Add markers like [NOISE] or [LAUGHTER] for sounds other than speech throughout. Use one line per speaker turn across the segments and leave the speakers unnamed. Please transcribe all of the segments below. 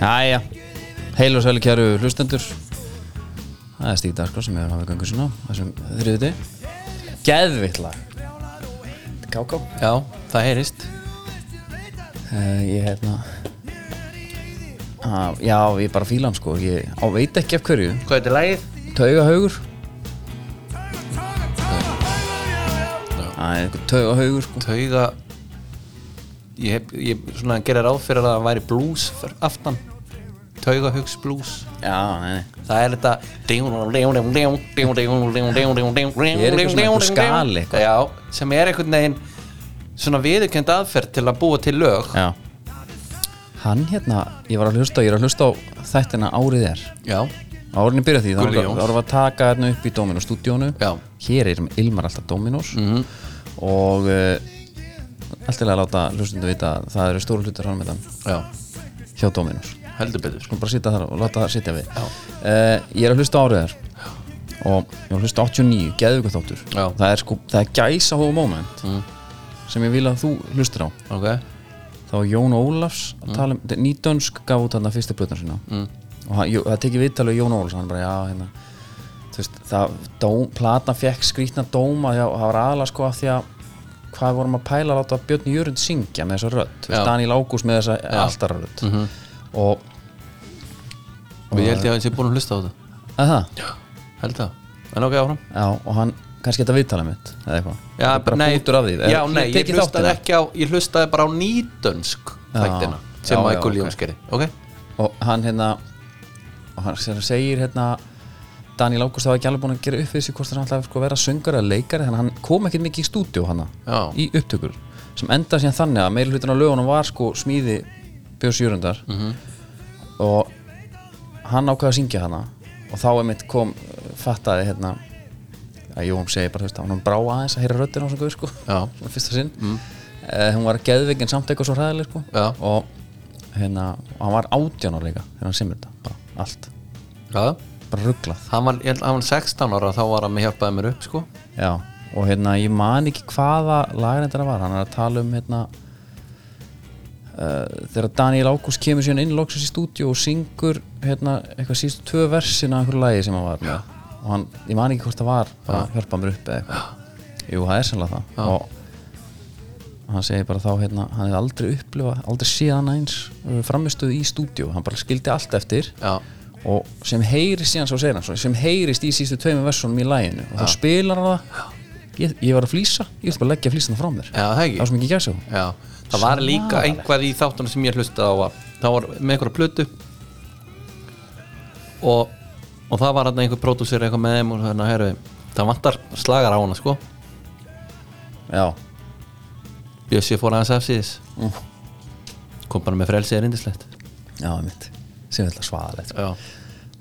Jæja, heil og sæli kjæru hlustendur Það er Stík Darko sem hefur hafið gangu sinna á þessum þriðuti Geðvitt lag
Káká
Já, það heyrist uh, Ég hérna uh, Já, ég bara fíla hann sko Ég á veit ekki af hverju
Hvað er þetta lagið?
Taugahaugur Það er eitthvað taugahaugur sko
Tauga Ég, hef, ég svona gerði ráð fyrir að það væri blues fyrir aftan Taugahugs blues
Já, nei, nei
Það er þetta Ég
er eitthvað svona einhver skali eitthvað.
Já, sem er einhvern veginn svona viðurkend aðferð til að búa til lög
Já Hann hérna, ég var að hlusta, ég er að hlusta á þættina Árið er
Já,
Árinni byrja því, þá
Gulli
vorum við-
Jóns.
þá vorum við að taka hérna upp í Dominó stúdíónu
Já. Mm.
Hér er Ilmar alltaf Dominós
Mhm.
-hmm. og uh, allt til að láta hlustundu vita að það eru stóru hlutur hann með
já,
hjá Dominós
heldur betur
Skulum bara sitja þar og láta það sitja við uh, Ég er að hlusta á árið þar og ég var að hlusta á 89, geðvika þáttur
Já. Mm.
Það er sko, það er gæsa hófa moment sem ég vil að þú hlustir á
Ok,
þá var Jón Ólafs að
Mm.
tala um, þetta er nýdönsk gaf út hann að fyrstu blöðnar sína mm. og hann- Jó- það tekið viðtalið Jón Ólafs hann bara já hérna þú veist það, dóm, platan fekk skrýtna dóma já, það var aðalega sko af því að hvað vorum að pæla að láta Björn Jörund syngja með þessa rödd, þú veist
Já. Mhm.
Daniel Ágúst með þessa alltara rödd og
og ég held ég að ég sé búin að hlusta á þetta
að það,
Held það En ok, áfram
já og hann kannski þetta viðtalið mitt eða eitthvað,
já,
Þetta er bara
nei,
bútur af því
já, nei, ég
tekið
hlustaði
þáttina.
ekki á ég hlustaði bara á nýdönsk þættina sem
já,
að
já,
Gulli
ok.
Jóns gerði ok,
og hann hérna og hann sem segir hérna Daniel Ágúst hafa ekki alveg búin að gera upp við þessu hvort hann ætlaði sko að vera söngar eða leikari þannig að hann kom ekkert mikið í stúdíu hana
Já.
í upptökur sem enda síðan þannig að meiri hlutin á lögunum var sko smíði Björns Jörundar
Mhm.
-hmm. og hann ákvaði að syngja hana og þá einmitt kom uh, fattaði hérna að Jón segi bara þú veist að hún brá aðeins að heyra röddina á svona guður sko
Já.
svona fyrsta sinn mm. hún var geðveikin samt eitthvað svo hræðileg sko
Já.
og hérna og hann var átján ára líka þegar hann semur þetta bara allt
já,
bara rugglað
hann var, ég held að hann var 16 ára þá var hann með hjálpaði mér upp, sko
já og hérna ég man ekki hvaða lagrendara var hann er að tala um hérna uh, þegar Daniel Ágúst kemur síðan inn loksins í stúdíu og syngur hérna eitthvað síðustu tvö versin af einhverju lagi sem hann var með og hann, ég man ekki hvort það var bara hjálpa mér upp eða eitthvað jú það er sannlega það og hann segir bara þá hérna hann hefði aldrei upplifa, aldrei síðan eins framistuð í stúdíu, hann bara skildi allt eftir
já,
og sem heyrist síðan svo segir hann svo, sem heyrist í sístu tveimur versunum í læginu og þá spilar hann það ég, ég var að flýsa, ég ætla bara að leggja flýsana frá mér
já, það
það var
ekki
sem ekki gæsa hún
já, það var líka einhver í þáttunum sem ég hlustaði á að það var með einhverja plötu og og það var hann einhver pródúsir eitthvað með þeim og hérna, herru, það vantar slagar á hana, sko
já,
Bjössi fór aðeins afsýðis
Mm.
kom bara með frelsið er indislegt
já, mitt sem ætla svaðalegt sko.
já,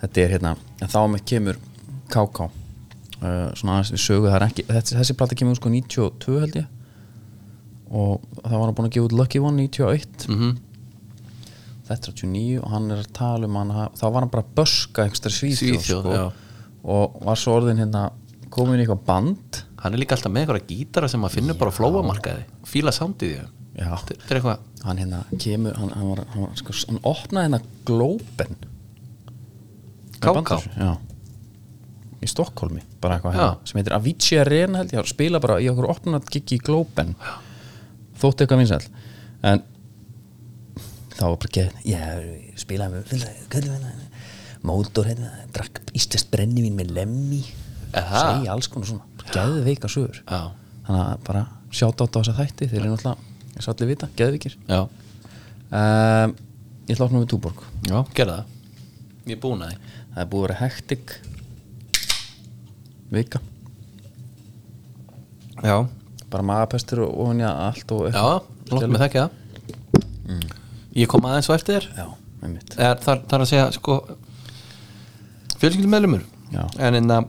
þetta er hérna, en þá með kemur KK uh, svona aðeins við sögu það er ekki, þessi, þessi plata kemur út sko 92 held ég og það var hann búin að gefa út Lucky One 91
mhm
þetta er 89 og hann er að tala um hann þá var hann bara að böska einhversta svíþjóð,
Svíþjóð, já.
sko, og var svo orðin hérna komin í eitthvað band
hann er líka alltaf með einhverja gítara sem maður finnur bara á flóamarkaði fíla sándið í þeim
Já.
þetta er eitthvað
hann hérna kemur hann, hann, var, hann, var, sko, hann opnaði hérna Globen
Káká?
já í Stokkólmi, bara eitthvað
Já.
hérna sem heitir Avicii Arena held ég, spila bara í okkur opnað giggi í Globen já. þótti eitthvað vinsæl en þá var bara geðin ég spilaði með fylgða, hvernig með það mótor hérna, drakk íslest brennivín með lemmi
Aha.
segja alls konar svona, bara geðveika sögur
já,
þannig að bara sjáta á þessa þætti þeir eru náttúrulega, eins og allir vita, geðvikir
já,
um, ég ætla að opna með Túborg
já, gerða það ég er búin að því
það er búið að vera hektik vika
já,
bara magapestur og ofan í allt og
já, lótt með þekkja það
Mm.
ég kom aðeins og eftir þér
já, einmitt
er, þar, þar að segja sko fjölskyldumöðlumur
Já.
en en að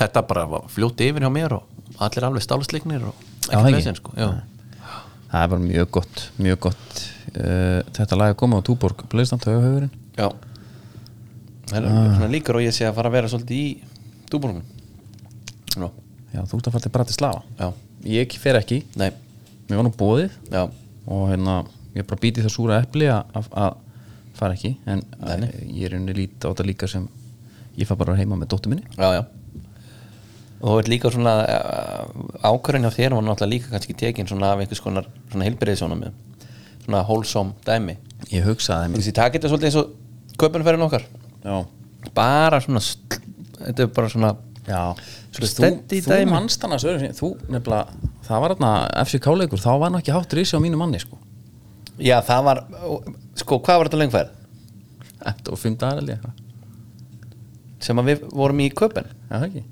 þetta bara var fljóti yfir hjá mér og allir alveg stálusleiknir og
Já,
ekkert
ekki.
vesen, sko. já,
það er bara mjög gott, mjög gott uh, þetta lag er komið á Túborg bleistan tögahöfurinn
Já Það er
Ah.
svona líkur og ég sé að fara að vera svolítið í dúbúrunum Nú,
já, þú ert að fara til Bratislava
já,
ég fer ekki,
nei,
mér var nú bóðið
já
og hérna, ég bara býti það súra epli að- að að fara ekki en
Nei, nei.
eh, ég er unni lít á þetta líka sem ég fara bara heima með dóttu minni
já, já og þú veit líka svona ákvörðin hjá þér var náttúrulega líka kannski tekin svona af einhvers konar svona heilbreiðsjónum svona wholesome dæmi
ég hugsaði mér
þessi takit er svolítið eins og kaupanferðin okkar
já,
bara svona sl- þetta er bara svona
já.
Svo
þú,
stend í
þú
dæmi.
manst annars öðru sinni þú nefnilega, það var þarna FCK-leikur, þá var nú ekki hátt rísi á mínu manni sko
já það var sko hvað var þetta lengferð
þetta og fimm dagar eða eitthvað,
sem að við vorum í kaupan
er það ekki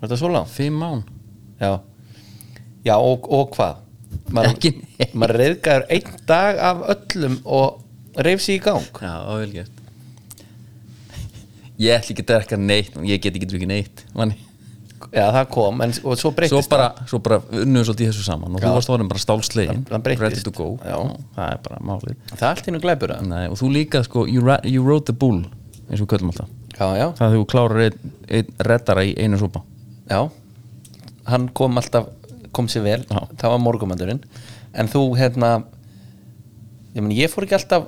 var þetta svo langt
fimm mán,
Já, já og, og hvað? Maður-
Ekki neitt.
Maður reyðgar einn dag af öllum og reyf sér í gang
já, það var vel gert ég ætla ekki að drekka neitt ég get ekki drukkið neitt manni.
Já, það kom, en, og svo
svo
breytist
bara, svo bara unnum svolítið í þessu saman og þú
Já.
varst orðin bara stálslegin
Það- það breyttist.
ready to go,
Já.
það er bara málið
það Það er allt innu glæpur að
Nei, og þú líka sko, you, ra- you rode the bull eins og við köllum alltaf
Já, já,
það þegar þú klárar einn ein, reddara í einu sopa
já Hann kom alltaf, kom sér vel
Já.
Það var morgumandurinn En þú, hérna Ég, meni, ég fór ekki alltaf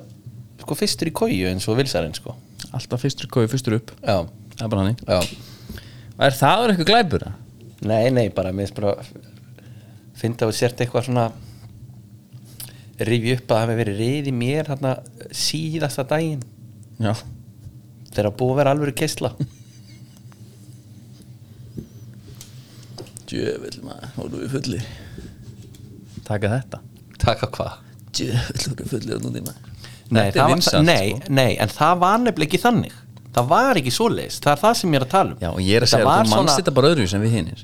sko, fyrstur í kóju eins og vilsarinn sko.
alltaf fyrstur kói, fyrstur upp
Já,
það er bara hannig
já
er það er eitthvað glæpur eða?
Nei, nei, bara mér finnst bara finnst að við sért eitthvað svona rifi upp að það hefur verið riði mér þarna síðasta daginn
já,
þegar búið að vera alvöru kessla
djöfull maður, voru við fullir taka þetta
Taka hvað?
djöfull voru við fullir að núti maður
Nei,
Þetta er
það var,
vinsælt,
nei,
sko.
nei, en það var nefnilega ekki þannig það var ekki svoleiðis, það er það sem ég er að tala um
já, og ég er að
Þetta
segja
var
að þú mannst
svona-
þetta bara öðru sem við hinnir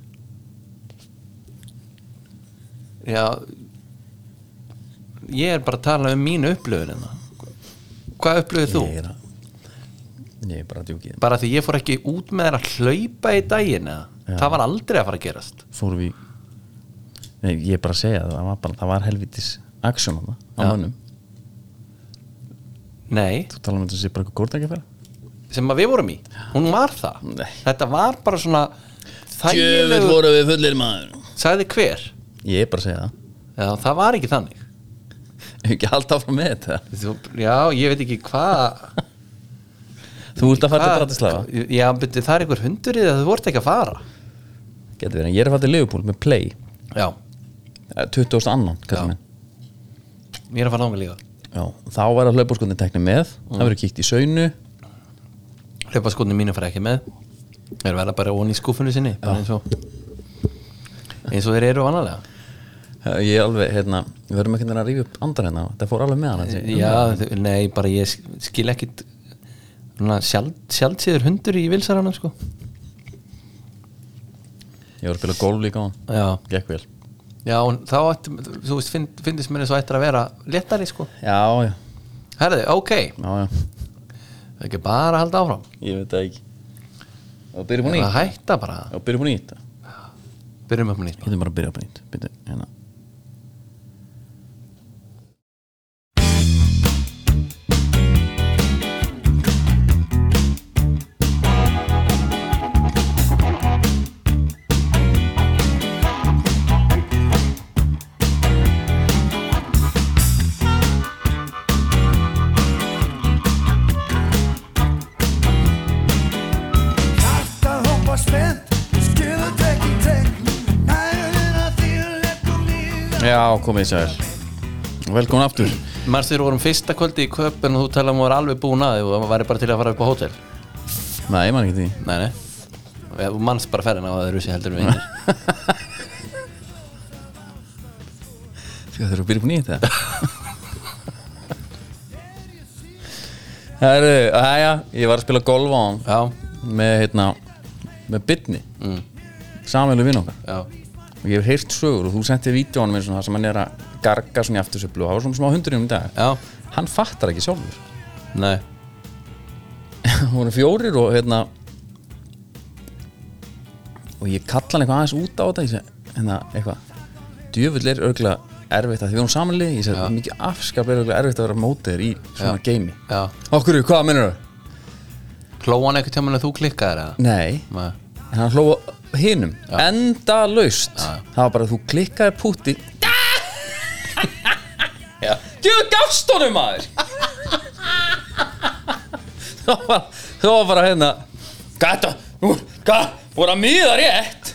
Já Ég er bara að tala um mínu upplöfun Hvað upplöfuð þú?
ég er að ég er bara að djúkið
Bara því ég fór ekki út með þér að hlaupa í daginn eða Það var aldrei að fara að gerast
fórum við nei, ég er bara að segja það, það var, bara, það var helvitis aksjón á
Já.
mönnum
Nei,
þú tala um þetta sem sé bara eitthvað górt ekki að færa
sem að við vorum í hún var það
Nei.
þetta var bara svona þægilegu,
við fullir maður
sagði hver
Ég er bara að segja það
já, það var ekki þannig
Hefur ekki halda áfram með þetta
Þú, já, ég veit ekki hvað
Þú ert að fara til
hvað-
Bratislava
já, beti, það er einhver hundurið að þú vort ekki að fara
Getur verið, en ég er að fara til Leopold með Play
já,
eh, 20. annan,
Já.
kallar minn
mér er að fara námið líka
Já, þá var að hlaupbórskundin teknir með Það verður kíkt í saunu
hlaupaskotni mínu fara ekki með þeir verða bara ón í skúfunni sinni bara eins og eins og þeir eru vanalega
Eh, Ég er alveg, hérna, við verðum ekki að rífa upp andar hérna Það fór alveg með hann þessi.
já, þau- nei, bara ég sk- skil ekkit sjálf, sjálfsýður hundur í vilsaranum sko
Ég voru að spila golf líka á hann
já
Gekk vel
Já, en þá ættum, þú veist, finn, finnist mér eins og ættir að vera léttari, sko.
Já, já,
Herði, ok,
já, já
það er ekki bara að halda áfram.
Ég veit það ekki Og byrjum hún í
Það hætta bara,
Og byrjum hún í þetta
byrjum upp með nýtt.
Getum bara að byrja upp nýtt Byrja, hérna.
Hjartað hoppar spennt, skilur tek í tek, nærðin að þér leggur líða.
Já, komið sér Velkomin aftur
Marstu þér vorum fyrsta kvöldi í köpun og þú talaði um að þú var alveg búin að því og það væri bara til að fara upp á hótel.
Nei, ég man ekki því
Nei, nei, Ja, þú manns bara ferðin á það russi heldur en
[LAUGHS]
við einir.
Þegar þeir eru að byrja upp nýtt það Herru, aðja, ég var að spila golf á hann
Já,
með, hérna, með bitni mm. samilu vinn okkar
já,
og ég hef heyrt sögur og þú sentið vídjóanum eins og það sem hann er að garga svona í aftursöflu og hafa svona smá hundurinn um dag
já,
hann fattar ekki sjálfur
nei,
það voru fjórir og hérna og ég kalla hann eitthvað aðeins út á þetta ég segi hérna eitthvað djöfull er örgulega erfitt að því við erum samanlið ég segi mikið afskap er örgulega erfitt að vera mótið í svona
Já.
geimi
já.
okkur, hvað minnur það?
Klóan eitthvað tjáman að þú klikkaðir eða?
Nei,
Nei,
en hann hló hinum enda laust það var bara að þú klikkaði púti
Já.
djöfull gafst honum maður
þá var, þá var bara hérna gata, nú, gata, voru að miða rétt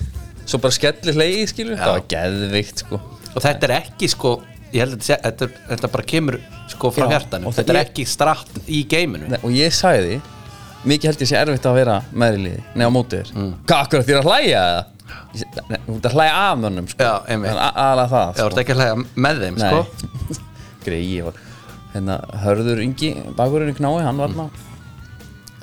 svo bara skellir hlegið skilur það var geðvikt sko
og þetta er ekki sko ég held að þetta, sé- þetta, er- þetta bara kemur sko frá
Já,
hjartanum
og
þetta er
ég-
ekki stratt í geiminu
Nei, og ég sagði því mikið held ég sé erfitt að vera meðri liði nei á mótið þér mm. hvað akkur þér að hlæja eða Ég sé- nei, þú ert að hlæja af mönnum sko.
Já, einmitt.
Það er a- aðalega það
það voru ekki að hlæga með þeim sko
[LAUGHS] sko. greið var hérna hörður yngi bakurinn í knái hann var ná
Mm.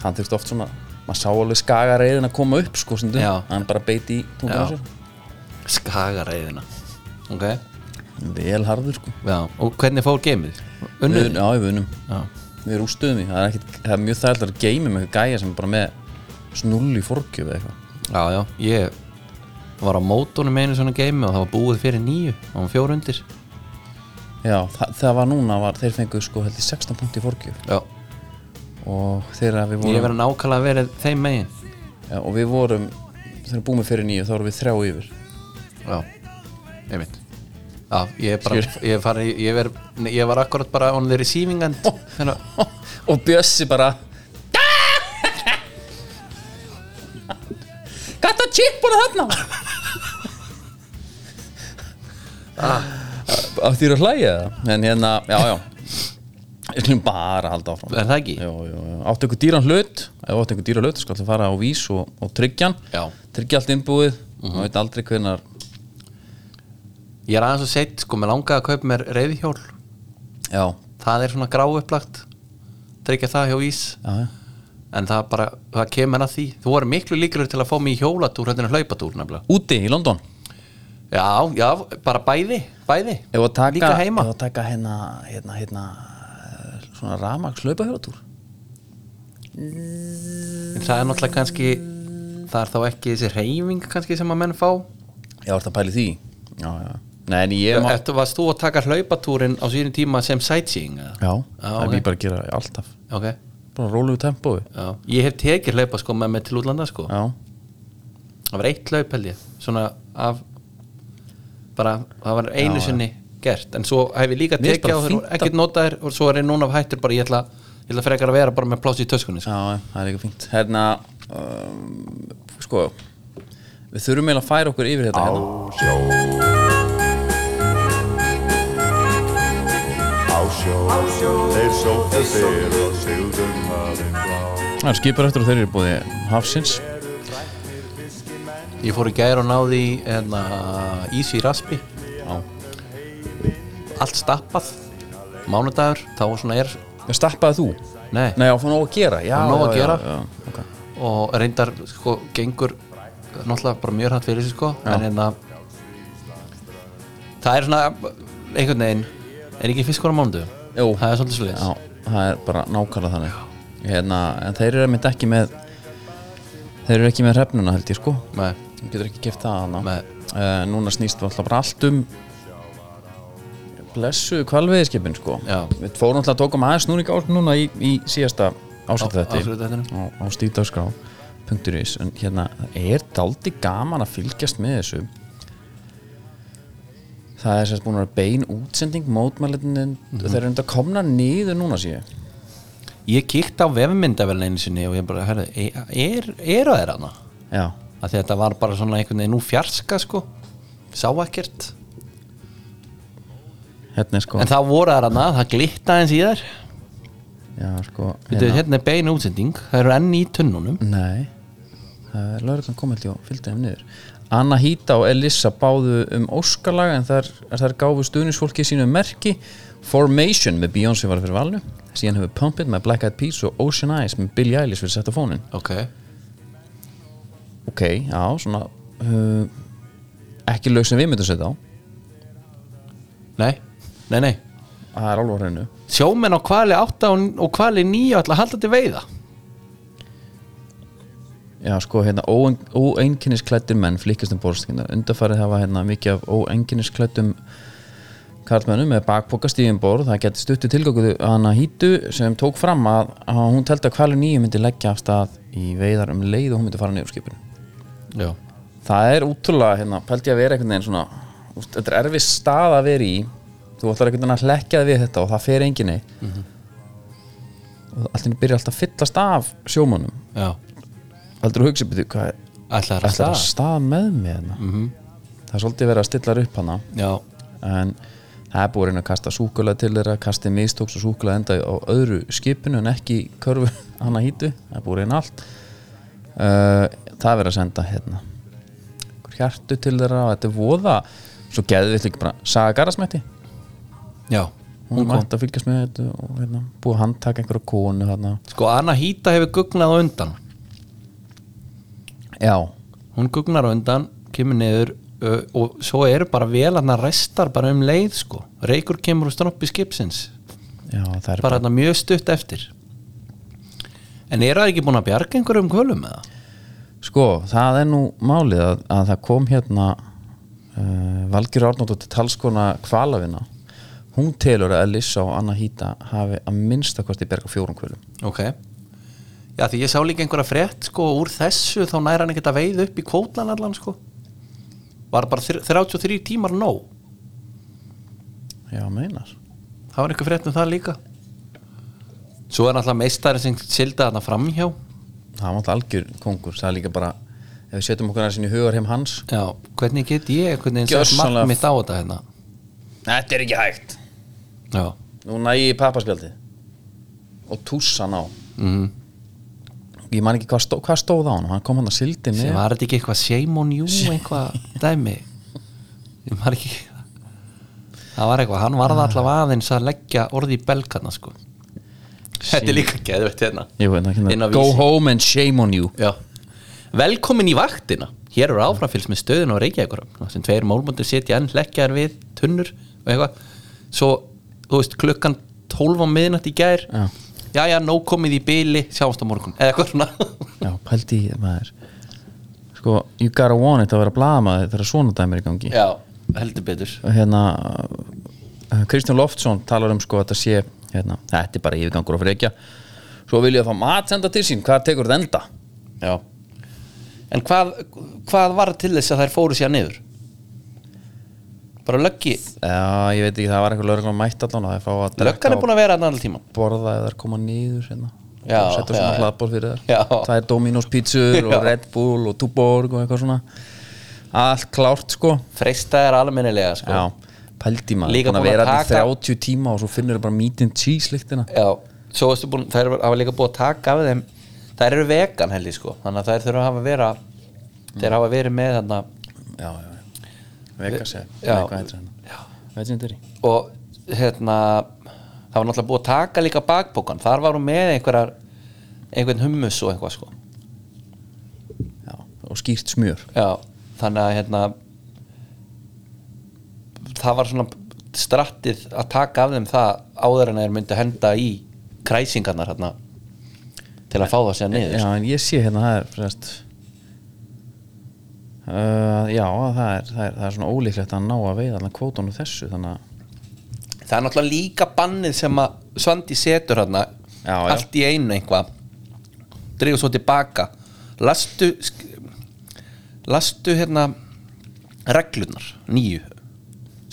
hann þurfti oft svona maður sá alveg skaga reyðin að koma upp sko stundum
Já.
hann bara beiti í tungan á
Já.
sér
skagareiðina ok
vel harður sko
já og hvernig fór geimið
Við-
unnum
já við unum
já
við rústuðum í það er, ekkit, það er mjög þægilega að geimi með gæja sem er bara með snull í forgjöf eða eitthvað
já já ég var á mótunum einu svona geimi og það var búið fyrir nýju og hann fjór undir
Já, það, það var núna var, þeir fengu sko held ég 16 punkt í forgjöf
já
og þegar við
ég
vorum
verið nákvæmlega verið þeim megin
já, og við vorum þegar við búum við fyrir nýju þá vorum við þrjá yfir
já einmitt já ég er bara ég, fari, ég, ver, nei, ég var akkurat bara on the receiving end þannig að
[LAUGHS] og Bjössi bara "Ah!" Gata chip bara þarna Af því eru Ah, að hlæja það en hérna, já, já Ég skulum bara halda áfram
er það ekki
Jú, jú, jú. Áttu ykkur dýran hlut Ef þú áttu ykkur dýran hlut, skal það fara á vís og, og tryggjan
Já.
Tryggja allt innbúið mm -hmm. veit aldrei hvenar
ég er aðeins og seitt sko með langa að kaupa mér reyðhjól
Já,
það er svona grá upplagt tryggja það hjá ís
já, já
en það bara, það kemur að því þú voru miklu líkur til að fá mig í hjólatúr þetta er hlaupatúr nefnilega
Úti í London
já, já, bara bæði, bæði
Ef að taka,
líka heima
Ef að taka hérna, hérna, hérna eh, Svona ramaks hlaupahjóratúr
En það er náttúrulega kannski það er þá ekki þessi reyfing kannski sem að menn fá
Já, ertu að pæli því Já, já Nei, en ég má
Eftir varst þú að taka hlaupatúrin á sínum tíma sem sightseeing eða?
Já,
Já,
það er
ok.
ég bara að gera alltaf
ok,
Bara rólu tempói
já ég hef tekið hlaupa sko með mig til útlanda sko
Já,
það var eitt hlaup held ég svona af bara, það var einu sinni gert en svo hef ég líka
Mér finnst
tekið á
bara
þér og
fínt að-
ekkert notaðir og svo er ég núna af hættur bara ég ætla, ég ætla frekar að vera bara með pláss í töskunni
já,
sko.
já, það er eitthvað fínt Hérna, um, sko Við þurfum eiginlega að færa okkur yfir þetta hérna
Á sjó, þeir sóttu þér og sigldum hafinn blá.
Það er skipur eftir og þeir eru búið hafsins
ég fór í gær og náði í, hérna, ísi í raspi
Já
allt stappað mánudagur, þá var svona er
Ég stappaði þú?
nei,
Nei, á fann nóg að gera Já,
Á nóg að
já,
gera.
já, já, ok.
og reyndar sko gengur náttúrulega bara mjög hrætt fyrir sig sko en hérna það er svona einhvern veginn er ekki fiskur á mánudu
Jú.
það er svolítið svolítið
Já, það er bara nákvæmlega þannig hérna, En þeir eru einmitt ekki með Þeir eru ekki með hrefnuna held ég sko
Nei,
Þú getur ekki keft það hana
Nei.
uh, Núna snýst við alltaf bara allt um Blessu kvalveiðiskipin sko
Já.
Við fórum alltaf að tókum aðeins núning á þessu núna í, í síðasta
Á-
ásættu
ársréttþættinum.
á, á stíðdagskrá punkturins en hérna það er daldi gaman að fylgjast með þessu það er sérst búin að vera bein útsending mótmælitin
Mhm.
þeir eru enda komna niður núna síðan
ég kíkt á vefmyndavelin einu sinni og ég bara, herðu, e- er, eru þeir hana?
já,
Af því að þetta var bara svona einhvern veginn úr fjarska sko, sá ekkert
hérna er sko,
en það voru þeir hana, það glitta eins í þær
já, sko
hérna. hérna er beinu útsending, það eru enn í tunnunum
nei, það er lögreglan komið og fylgdi þeim niður Anna Hýta og Elissa báðu um Óskarlag en þar, þar gáfu stuðnisfólki sínu merki Formation með Beyoncé var fyrir valinu síðan hefur Pump It með Black Eyed Peas og Ocean Eyes með Billie Eilish fyrir setta fónin
ok,
ok, já, svona uh, ekki lög sem við myndum setja á
nei, nei, nei
það er alveg á hreinu
sjómenn á kvali 8 og, og kvali 9 ætla að halda til veiða
já, sko, hérna, óen- óeinkennisklæddir menn flikkast um borðskinnar, undarfærið hafa hérna mikið af óeinkennisklæddum karlmennum með bakpoka stíðin borð það geti stuttu tilgöngu hana hýtu sem tók fram að, að hún teldi að kvalur nýju myndi leggja af stað í veiðar um leið og hún myndi fara niður úr skipinu
já,
það er útrúlega, hérna, pældi ég að vera einhvern veginn svona, úst, þetta er erfið stað að vera í þú ætlar einhvern veginn að hlekja þig við þetta og það fer enginni mm og allt henni byrja alltaf að fyllast af sjómanum
já
aldrei hugsa byrju hvað er
Ætlar að
ætlar
stað
að stað með mig hérna það er svolítið verið að stilla upp hana
Já,
en það er búið að reyna að kasta súkulega til þeirra kastið mistóks og súkulega enda á öðru skipinu en ekki í körfu [LAUGHS] hana hýtu, það er búið að reyna allt uh, það er verið að senda hérna einhver hjartu til þeirra og þetta er voða svo geðið við líka bara Saga Garðarsmetti
já
hún mætti að fylgjast með þetta og hérna, búið að handtaka einhverja konu hérna.
Sko Anna Hýta hefur gugnað á undan
já,
Hún gugnar á undan, kemur niður ö, og svo eru bara velarnar restar bara um leið sko Reykur kemur úr stroppi skipsins
já, það er
bara þarna mjög stutt eftir En eru það ekki búin að bjarga einhverjum kvölum með það?
Sko, það er nú málið að, að það kom hérna uh, Valgjur Árnóttur talskona kvalavina hún telur að Elissa og Anna Hýta hafi að minnstakosti berga fjórum kvölum
Ok Já því ég sá líka einhverja frétt sko úr þessu þá næra hann ekkert að veið upp í kvótlan allan sko Var bara þr- 33 tímar nóg
Já, meinar
Það var einhver frétt um það líka Svo er náttúrulega meistari sem silda þarna framhjá
Það var alltaf algjör kongur, það er líka bara ef við setjum okkur aðeins inn í hugar heim hans
Já, hvernig get ég hvernig sett
Gjörsamlega-
mark mitt á þetta hérna
Þetta er ekki hægt
Já,
Nú næ ég í pappaspjaldið og tússa hann á
mm.
Ég man ekki hvað, stó, hvað stóð á hann hann kom hann að sildi með
sem var þetta ekki eitthvað shame on you eitthvað dæmi ég var ekki það var eitthvað, hann varði allavega aðeins að leggja orði í belgarna sko Þetta er líka geðvett hérna
Ég veit ekki
Inn á
hérna Go
Vísi.
home and shame on you
Já. Velkomin í vaktina Hér eru áframfylgst með stöðun á Reykjavíkurum þar sem tveir málmundir sitja enn leggjar við tunnur og eitthvað Svo, þú veist, klukkan 12 á miðnætt í gær
Já.
já, já, nóg komið í byli, sjáumst á morgun eða eitthvað svona
Já, pældi í maður Sko, you gotta want it að vera blaðamaður þegar svona dæmir í gangi
Já, heldur betur
Og Hérna, uh, Kristján Loftsson talar um sko að þetta sé hérna, Þetta er bara yfirgangur á frekja Svo vil ég að fá matsenda til sín, hvað tekur þetta enda?
Já
En hvað, hvað var til þess að þær fóru sér niður? Bara löggi
Já, ég veit ekki, það var eitthvað lögreglum mætt allan og það er fá að
Löggan er búin að vera hann allir tíman
og borða eða þær koma nýður hérna
Já,
og setja svona
já, já.
hlaðból fyrir
Já.
þær það er Dominos pítsur
[LAUGHS]
og Red Bull og Tuborg og eitthvað svona allt klárt sko
Freista er almennilega sko
Já, pældi maður
Líka
Líka búin að
búin að
vera til
taka-
30 tíma og svo finnur þau bara meat and cheese líktina
Já, svo varstu búin, þær hafa líka búið að taka af þeim Þær eru vegan held ég sko Þannig að þær þurfa að hafa vera Þeir hafa verið með þarna
Já, já, já Vegas eða
Já.
eitthvað heitir hérna Legendary
Og hérna Það var náttúrulega búið að taka líka bakbókan Þar var hún með einhverjar Einhvern hummus og eitthvað sko
Já, og skýrt smjör
Já, þannig að hérna það var svona strattið að taka af þeim það áður en þeir myndi henda í kræsingarnar hérna til að fá það sér niður
Já, en ég sé hérna, það er fremst uh, Já, það er, það, er, það er svona ólíklegt að ná að veiða allan kvótan úr þessu þannig að
Það er náttúrulega líka bannið sem að Svandi setur hérna
Já, já.
allt í einu einhvað dreigur svo tilbaka lastu sk- lastu hérna reglunar, nýju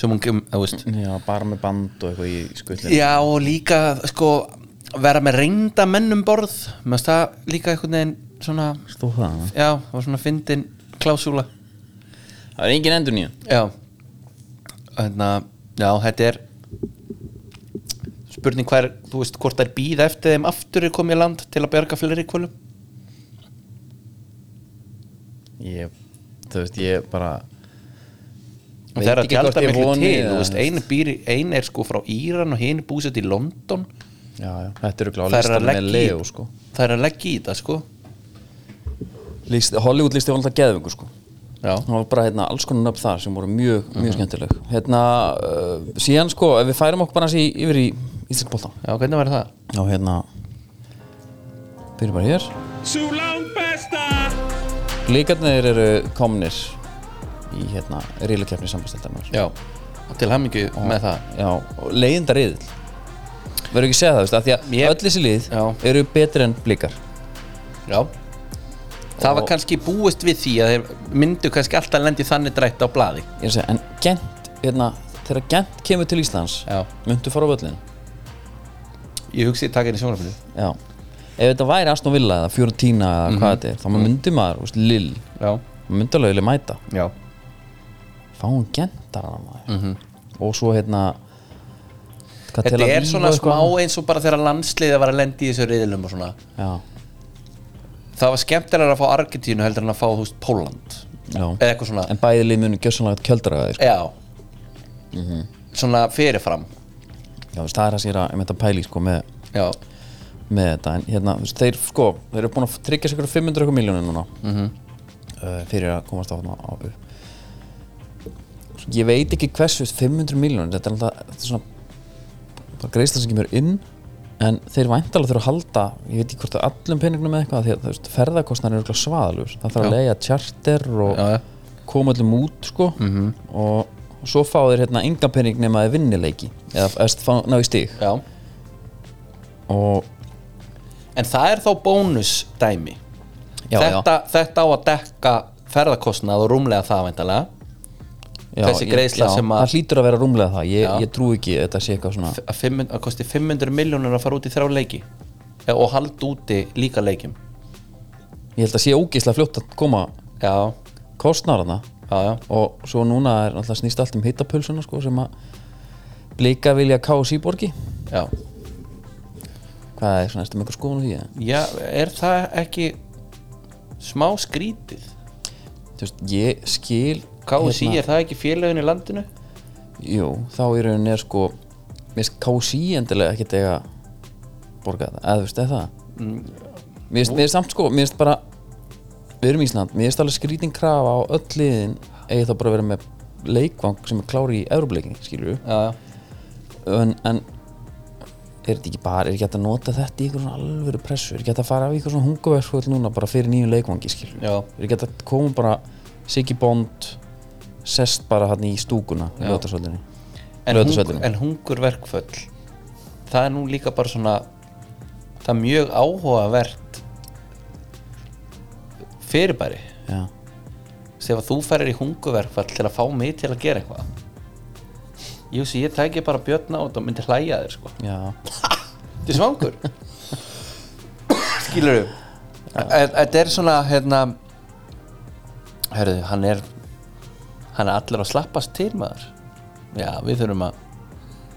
sem hún kem, þú veist
Já, bara með band og eitthvað í skullin
Já og líka sko vera með reynda mennum borð með það líka einhvern veginn svona,
Stóð það hana?
já, var svona fyndin klásúla,
Það er engin endur nýjum
já þannig að, Hérna, já, þetta er spurning hvað er, þú veist, hvort það er býða eftir þeim aftur er komið í land til að berga fleiri kvölum
Ég, þú veist, ég bara
og það er að
ekki hvort
tjálta
ég
miklu
voni
til,
eða-
þú veist, ein, býr, í- ein er sko frá Íran og hinn búið í London
Já, já, þetta eru
það
gláð
er að
listan með
leggja
Leo,
í
sko
það er að leggja í þetta, sko
List, Hollywood listi var alltaf geðvöngur sko
já,
Það var bara hérna, alls konar nöfn þar sem voru mjög,
Mhm.
mjög skemmtileg Hérna, uh, síðan sko, ef við færum okkur bara hans í, yfir í Íslandbólta
já, hvernig verður það?
Já, hérna Byrjum bara hér
Sú langt besta
Líkarnir eru komnir í hérna, rílakefni sambasteldarnar
Já, og til hamingju með það
Já, og leiðindar yðil Verður ekki að segja það, veist, af því að
Ég-
öll þessi lið
Já.
eru betri en blikar
Já Það var kannski búist við því að þeir myndu kannski alltaf lendi þannig drætt á blaði
Ég er að segja, en Gent, hérna, þegar Gent kemur til Íslands
Já.
Muntu fara á völlin
Ég hugsi taka henni í sjónarfinu
já ef þetta væri Aston Villa eða Fiorentina eða
Mhm.
hvað þetta er þá myndi maður, þú veist, Lill
Já,
maður myndi alveg vilja mæta
já,
fá hún gentar hann maður og svo hérna hvað, Tel
Mhm. Þetta er
Aviv
svona
og
smá
eitthvað?
eins og bara þegar landsliðið var að lendi í þessu reyðilum og svona
já,
Það var skemmtilega að fá Argentínu heldur en að fá, þú veist, Póland
já.
Eða eitthvað svona,
en bæði lið munum gjössanlega kjöldra sko.
já
Mhm.
Svona fyrirfram
já, þú veist, það er það sem ég er að, um þetta pæli sko, með,
Já,
með þetta en hérna, þú veist, þeir sko þeir eru búin að tryggja sig ykkur 500 ykkur miljónir núna
Mhm.
uh, fyrir að komast á þarna á upp ég veit ekki hversu 500 miljónir, þetta er alltaf þetta er svona bara greiðsla sem kemur inn en þeir væntalega þurfa að halda ég veit ekki hvort að allum peningnum eða eitthvað því að þú veist, ferðakostnar eru örugglega svaðalur það þarf að leiða charter og
já, Mhm. já.
koma öllum út sko -hmm. og svo fá þeir hérna enga pening nema þeir vinnileiki eða eða fá- ná í stig
já
og
En það er þá bónusdæmi
já,
þetta, þetta á að dekka ferðarkostnað og rúmlega það væntalega
já,
þessi
ég-
greiðsla
já,
sem að-
það hlýtur að vera rúmlega það, ég,
Já.
ég trú ekki að þetta sé eitthvað svona
að, 500, að kosti 500 miljónur að fara út í þrjá leiki Eh, og halda úti líka leikjum
ég held að sé ógeðslega fljótt að koma
já,
kostnarana
já, já,
og svo núna er alltaf snýst allt um hittapulsuna sko, sem að blika vilja KSI borgi
já.
hvað er svona, erstu með eitthvað skoðun á því eða?
já er það ekki smá skrítið
þú veist, ég skil
KSI,
hérna-
er það ekki félögin í landinu?
Jú, þá í rauninni er sko Mér finnst KC endilega ekkert eiga borga þetta, eða þú veist eða það Mér finnst- mér finnst samt sko Mér finnst bara, við erum Ísland Mér finnst alveg skrítin krafa á öll liðin eigi þá bara að vera með leikvang sem er klári í Európleikin, skilur við
já, já,
en, en er þetta ekki bara, er ekki hægt að nota þetta í ykkur svona alvöru pressu, er ekki hægt að fara af ykkur svona hunguverskvöld núna bara fyrir nýjum leikvangi, skilur
Já.
er ekki hægt að koma bara Siggy Bond sest bara hann í stúkuna í ljótasvöldinni
en, hungur,
Laugardalsvellinum.
en hungurverkföll það er nú líka bara svona það er mjög áhugavert fyrirbæri
Já.
Þegar þú ferir í hungurverkfall til að fá mig til að gera eitthvað Jú, þessi ég tæki bara björna át og myndi hlæja þér sko
Já,
Þetta er [LAUGHS] svangur Skilur þú? Þetta er svona, hérna Herðu, hann er Hann er allir að slappast til maður Já, við þurfum að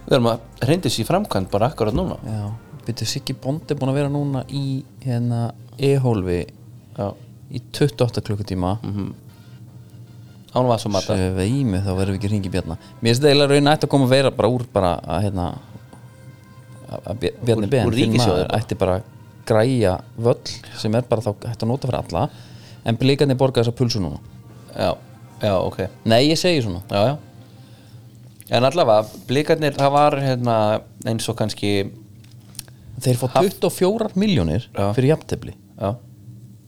Við þurfum að reynda sér í framkvæmt bara akkurat núna
já Býttu, Siggi Bond er búin að vera núna í hérna e-hólfi
Já,
í 28 klukkutíma mm -hmm.
hann var svo Mhm, mata
Sveimi, þá verðum við ekki hringi Bjarna Mér finnst eiginlega raun ætti að koma að vera bara úr bara að hérna að- að Bj- Bjarni
Úr-
Ben,
úr
þinn
ríkissjóði
maður,
bara.
ætti bara að græja völl sem er bara þá hægt að nota fyrir alla en blíkarnir borga þessa pulsu núna
Já, já, ok
Nei, ég segi svona
já, já. En allavega, blikarnir, það var hérna, eins og kannski
Þeir fá 24 miljónir
Já.
fyrir jafntefli
já,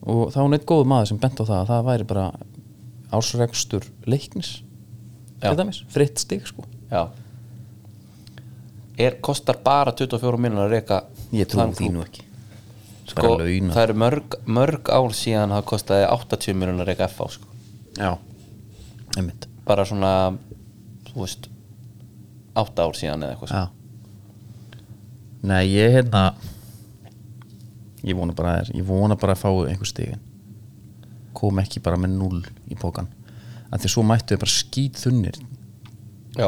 og þá var neitt góð maður sem bent á það að það væri bara ásregstur leiknis
Já.
til dæmis, fritt stig sko
já. Er, kostar bara 24 minnur að reyka
ég trúi því nú ekki bara launa
sko. Það eru mörg, mörg ár síðan það kostaði 80 minnur að reyka FH sko.
já, einmitt
bara svona þú veist 8 ár síðan eða eitthvað sko.
já. nei, ég hérna ég vona bara að, ég vona bara að fá einhver stigin kom ekki bara með null í pókan að því svo mættu við bara skýt þunnir
Já,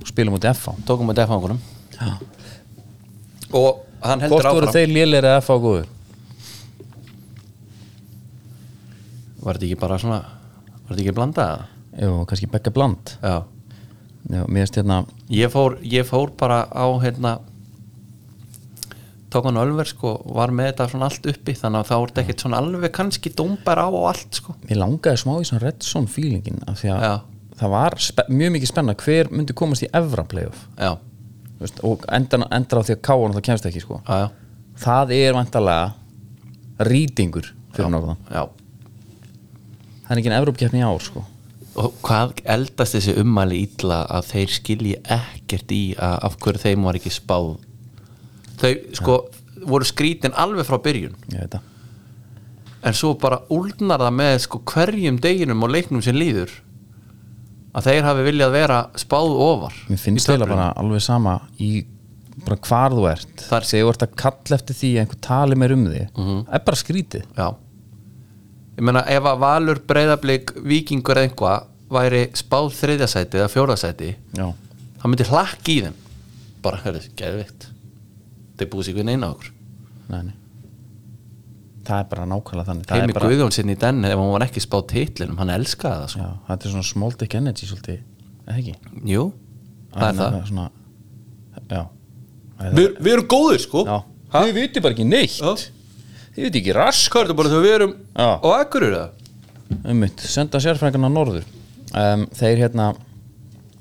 og spilum út FH
tókum við defangunum og hann heldur
hvort voru
áfram
þeir lélir eða FH góður
Var þetta ekki bara svona Var þetta ekki blandað?
Jú, kannski Becca Bland
Já
Já, mér finnst hérna
Ég fór, ég fór bara á hérna tók hann ölver sko og var með þetta svona allt uppi þannig að þá er þetta ekkert svona alveg kannski dómbar á og allt sko
Mér langaði smá í svona Redson feelingin af því að
Já.
það var spe- mjög mikið spenna hver myndi komast í Evra playoff
Já,
þú veist, og endan, endar á því að káan það kemst ekki sko.
já, já,
það er vantarlega rýtingur fyrir norðan
já.
það er ekki en Evrópkeppni í ár sko.
Og hvað eldast þessi ummæli illa að þeir skilji ekkert í að af hverju þeim var ekki spáð Þau sko voru skrítin alveg frá byrjun
ég veit það
en svo bara úlnar það með sko hverjum deginum og leiknum sem líður að þeir hafi viljað vera spáð ofar
mér finnst
í töflunni.
þeirra bara alveg sama í bara hvar þú ert
Þar- Mhm.
þegar þú ert að kalla eftir því að einhver tali meir um þig það er bara skrítið
Já Ég meina ef að Valur breyðablík vikingur eða einhva væri spáð þriðjasæti eða fjórðasæti
já,
það myndi hlakki í þeim bara, hörðu, geðvikt þeir búið sér hvernig inn á okkur
nei, nei það er bara nákvæmlega þannig það er
Heimi
bara,
Guðjón sinni í den ef hann var ekki spáð titlinum, hann elskaði það sko.
já, þetta er svona small dick energy svolítið, eða ekki
Jú, það er það
svona, já
Við vi erum góðir sko
Já. Þið viti bara ekki neitt
Já.
Þið viti ekki rask
Hvað er þetta bara þegar við erum
Já.
á Akurur það?
Ummitt, senda sérfræðingarna norður um, Þeir hérna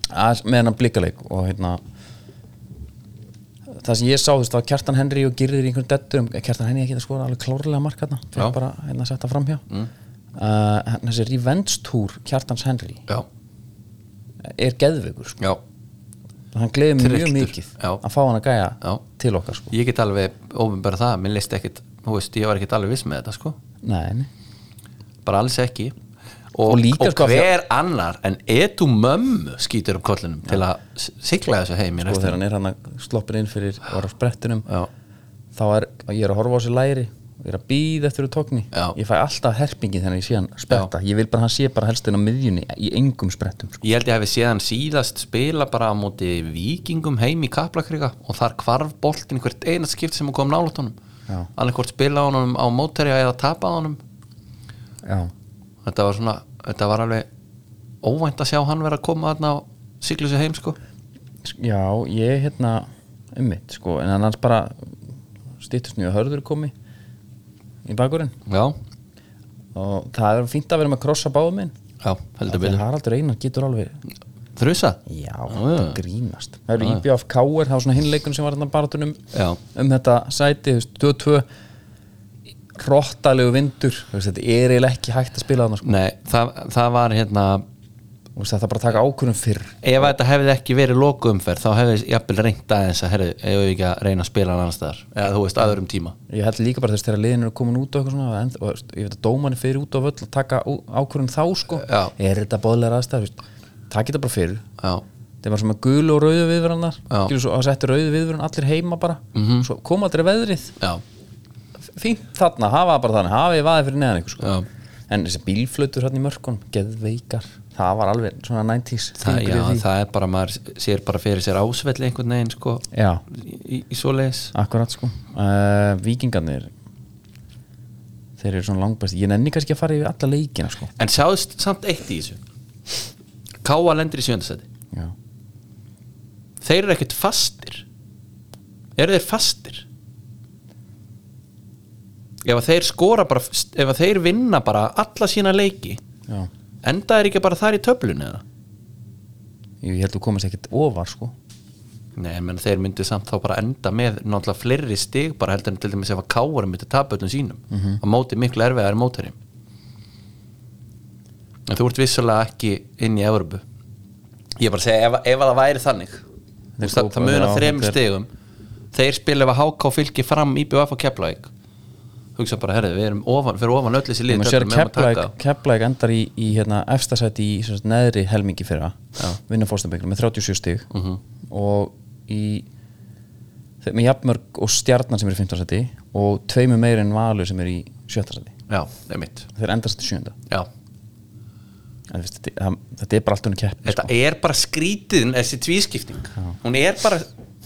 að, með hennan blikaleik og hérna það sem ég sá, þú veist, það var Kjartan Henry og Girðir í einhvern dettur um Kjartan Henry ekki að skora alveg klárlega mark hérna fyrir
Já.
bara hérna að setja framhjá mm. uh, Þessi revenge-túr Kjartans Henry
Já,
er geðveikur, sko
já,
Hann gleði mig mjög
Trylltur.
mikið
Já.
að fá hann að gæja
Já.
til okkar, sko
ég get alveg ofinbæra það, minn leist ekkit þú veist, ég var ekkit alveg viss með þetta sko
Nei, nei
bara alls ekki
Og líka, sko,
hver annar en etu mömmu skýtur upp kollinum til að s- sigla þessu heim í
og Sko, þegar
restina.
hann er hann að sloppin inn fyrir og er á sprettinum
Já.
þá er ég er að horfa á sér læri ég er að býða eftir úr tókni
Já.
ég fæ alltaf herpingi þegar ég sé hann spretta ég vil bara að hann sé bara helst inn á miðjunni í engum sprettum sko.
ég held ég hefði séðan síðast spila bara á móti vikingum heim í Kaplakriga og þar hvarf boltin hvert einast skipt sem hún kom nálat honum
Já.
annarkvort spila á honum á móterja eða tapa á honum
já,
þetta var svona, þetta var alveg óvænt að sjá hann vera að koma þarna og sigla þessu heim sko
já ég hérna um mitt sko en annars bara stýttust nýja hörður komi í bakurinn
já,
og það er fínt að vera með að krossa báðum minn
já, heldur
þegar
byrju
Haraldur Einar getur alveg
þrjusa,
Já,
já.
þetta grínast Það eru E IBF K.R. það var svona hinleikun sem var þarna baratunum
Já.
um þetta sæti, þú veist, 2-2 rottalegu vindur þú veist, þetta er eiginlega ekki hægt að spila þarna sko.
nei, það, það var hérna
Þú veist, það er bara að taka ákvörðum fyrr
ef þetta hefði ekki verið lokuumferð þá hefði jafnvel reynt aðeins að herri, ef við ekki að reyna að spila hann annars staðar eða þú veist aðurum tíma
Ég held líka bara þess þegar liðin eru komin út og eitthvað svona en, og, þú veist, ég veit að dómanni fyrir út á völl að taka ákvörðum þá sko
Já.
er þetta boðlega aðstæð, takk þetta bara fyrr
já,
þeir var svona gulu og rauðu viðvörunar
Já. Mhm.
skilur svo að setja rauðu viðvörun allir heima bara -hmm. svo koma aldrei veðrið
já,
fínt þarna, hafa það bara þannig hafi vaðið fyrir neðan ykkur sko
Já.
en þessi bílflötur hann í mörkun, geðveikar það var alveg svona 90s
það,
fingur í
já
því.
það er bara maður sér bara fyrir sér ásvelli einhvern veginn sko
já,
í, í- í svoleiðis
akkurat sko uh, vikingarnir þeir eru svona langbæst, ég nenni kannski að fara yfir alla leikina sko
en sjáðist samt eitt í þessu Káa lendir í sjöndasæti
já.
þeir eru ekkert fastir eru þeir fastir ef að þeir skora bara ef að þeir vinna bara alla sína leiki
Já.
enda er ekki bara þar í töflun eða
ég held þú komast ekkert ofar sko
Nei, menn þeir myndu samt þá bara enda með náttúrulega fleiri stig bara heldur en til dæmis ef að káar myndi tapa öllum sínum mm
Mhm.
-hmm. að móti miklu erfiðar mótari en þú ert vissulega ekki inn í Evropu ég er bara að segja ef, ef að það væri þannig Þú veist, það,
kópa-
það muna
já,
þremur
þetta er-
stigum þeir spila ef að HK fylgir fram í BF og Keflavík hugsa bara, herrið, við erum ofan, fyrir ofan öll þessi lið
Þegar maður
þetta
sér að
er með um að
Keflæk,
taka.
Keflæk endar í, í hérna, efstasæti í sem sagt, neðri helmingi fyrra vinna fórstambyggnum með 37 stig
Mhm.
og í þeir- með jafnmörg og stjarnan sem er í 15 sæti og tveimu meir en valur sem er í 17 sæti
já, það er mitt
þeir endast í 7.
já,
Sko. En, þú veist, þetta, það, þetta er bara allt sko. unni kepp
Þetta er bara skrítiðin þessi tvískipting hún er, bara,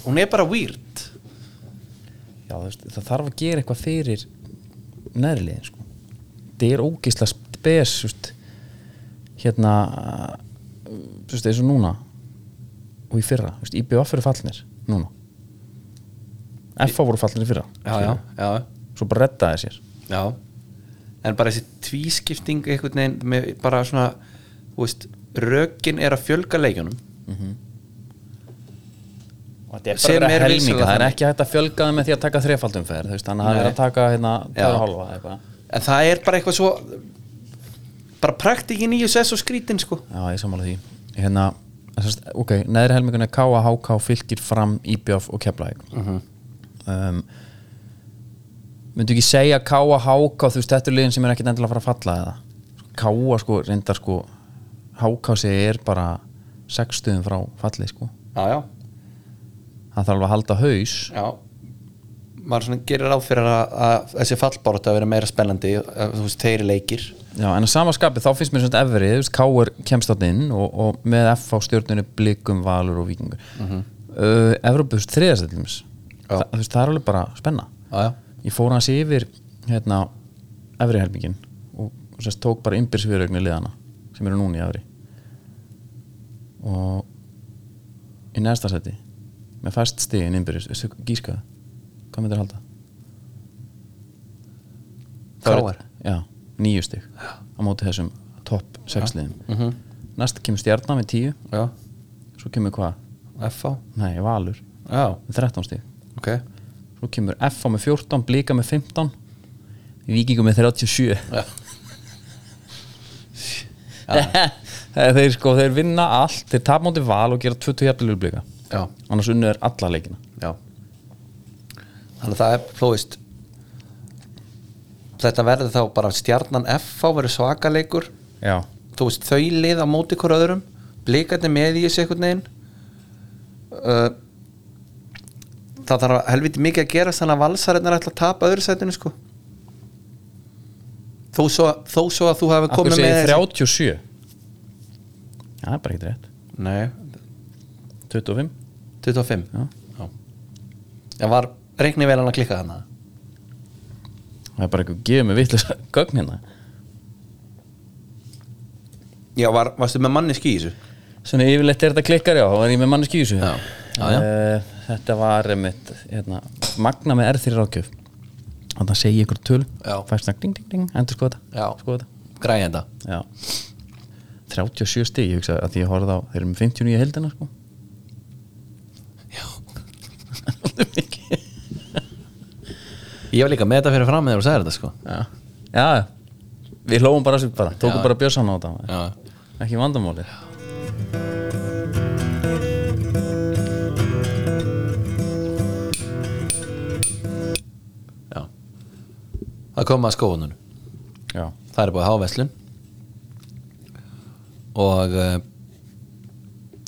hún er bara weird
Já, þú veist, það þarf að gera eitthvað fyrir nærliðin sko. það er ógisla spes þú veist, hérna þú veist, eins og núna og í fyrra, þú veist, IBF eru fallnir núna FA voru fallnir í fyrra
já, já, já,
svo bara reddaði sér
já en bara þessi tvískipting einhvern veginn með bara svona þú veist, rökin er að fjölga leikjunum
er
Sem
bara
er
helminga, það
vissulega
er
þannig.
ekki hægt að fjölga það með því að taka þrefaldum fer þannig að það er
Nei.
að taka hérna
Já.
tvær og hálfa eða eitthvað.
en það er bara eitthvað svo bara praktikin í þessu er svo skrítin sko
Já, ég sammála því hérna, en sem sagt, ok, neðri helmingun er K.A. H.K. fylgir fram IBF og Keflæk um, myndu ekki segja K.A. H.K. þú veist, þetta er liðin sem er ekkit endilega að fara að falla eða K.A. sko, reyndar sko H.K. sé er bara sex stuðum frá fallið sko
já, já,
Það hann þarf alveg að halda haus
Já maður svona gerir ráð fyrir að, að þessi fallbárat að vera meira spennandi að, þú veist, þeir leikir
Já, en að samaskapi þá finnst mér svona efrið, þú veist, Káur kemst þarna inn og, og með F á stjórnunni blikum, valur og vikingur mm -hmm. uh, Evrópu þriðastillins Þa, þú veist, það er alveg bara spenna
já, já.
ég fór hans yfir hérna, efri helmingin og, og sérst tók bara ymbirfjörögnu liðana sem eru núna í efri og í næsta seti með fæst stigin ymbirfjörögnu, veistu, gískaðu hvað myndir halda? Það
KR?
er- Já, nýju stig á móti þessum topp sexliðum mm -hmm. næst kemur stjarnan með tíu
já,
svo kemur hvað?
F.A.
Nei, Valur
Já,
með 13 stig
ok
svo kemur FA með 14, Blika með 15 Víkingu með 37 [LAUGHS] Þegar þeir sko þeir vinna allt, þeir tap móti val og gera 20 jafnilegur blika
Já,
annars unnu er alla leikina
já Þannig að það er, þú veist Þetta verður þá bara stjarnan F.A. verður svakaleikur
Já,
þú veist, þau lið á móti hver öðrum blikarnir með í þessu einhvern veginn uh, það þarf helviti mikið að gera þannig að valsarinnar ætla að tapa öðru sætinu sko þó svo, þó svo að þú hefur
akkur
komið með
segir 37 Já, það er bara ekki rétt
þessi- nei,
25
25
Já.
Já. það var reikni vel hann að klikka hana
Það er bara eitthvað gefið mig vitlega gögn hérna
já, var, varstu með manni ský í þessu
Svona yfirleitt er þetta klikkar já, þá var ég með manneski í þessu
Já. Já, já.
Eh, Þetta var einmitt, hérna, magna með R3 ráðgjöf Þannig að segja ykkur töl
Já.
Fæst það ding, ding, ding, endur skoða þetta
Já.
Skoða þetta
græði þetta
Já 37 stig, ég hugsa að því ég horfði á þeir eru með 59 í heldina sko Já
ég var líka með þetta fyrir fram með þegar þú sagði þetta sko
Já, já Við hlófum bara sér bara, tókum
Já.
bara björsan á þetta
já,
Ekki vandamóli
já það kom að skóðunum
Já,
það er búið háveslun og uh,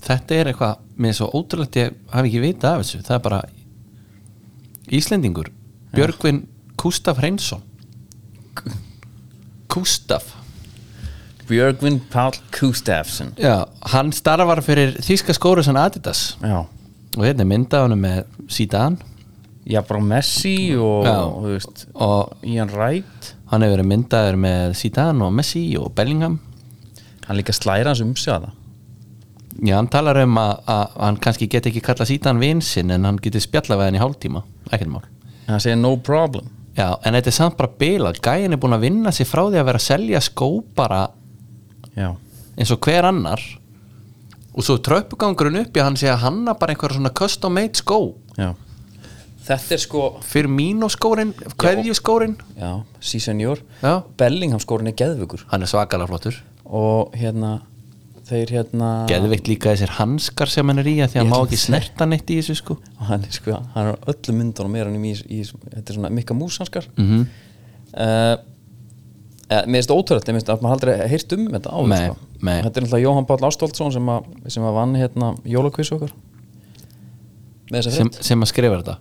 þetta er eitthvað mér er svo ótrúlegt ég hafi ekki vita af þessu það er bara Íslendingur Björgvin Kústaf Hreinsson Kústaf
Björgvin Pál Kustafsson
Já, hann starfar fyrir Þíska skóruðsan Adidas
Já,
og hérna er mynda honum með Zidane
já bara Messi og,
Já.
og þú veist
og
Ian Wright
hann hefur verið myndaður með Zidane og Messi og Bellingham
hann líka slæra hans um sig að það
Já, hann talar um að, að hann kannski get ekki kalla sítan vinsinn en hann getur spjalla við hann í hálftíma ekkert mál
en hann segir no problem
Já, en þetta er samt bara bila gæin er búin að vinna sig frá því að vera að selja skó bara
já,
eins og hver annar og svo tröppugangurinn upp í að hann sé að hanna bara einhverja svona custom made skó
já þetta er sko
fyrir mínoskórin, kveðjuskórin
já, sí senior
Já.
Bellingham skorinn er geðvökur
hann er svakalega flottur
og hérna þeir hérna
geðveikt líka þessir hanskar sem hann er í að því að
Ég
hann má
ætla
ekki
að
snerta neitt í þessu sko
og [LAUGHS] hann er sko, hann er á öllum myndunum er hann í, í, í þetta er svona mikka músanskar mm -hmm.
Mhm.
uh, eh, mér finnst ótrúlega, mér finnst að maður aldrei heyrt um þetta áður
Nei,
sko. þetta
nei.
er náttúrulega Jóhann Páll Ástoldsson sem, að- sem að vann hérna jólakvísu okkar með þess að
sem, sem að skrifa þetta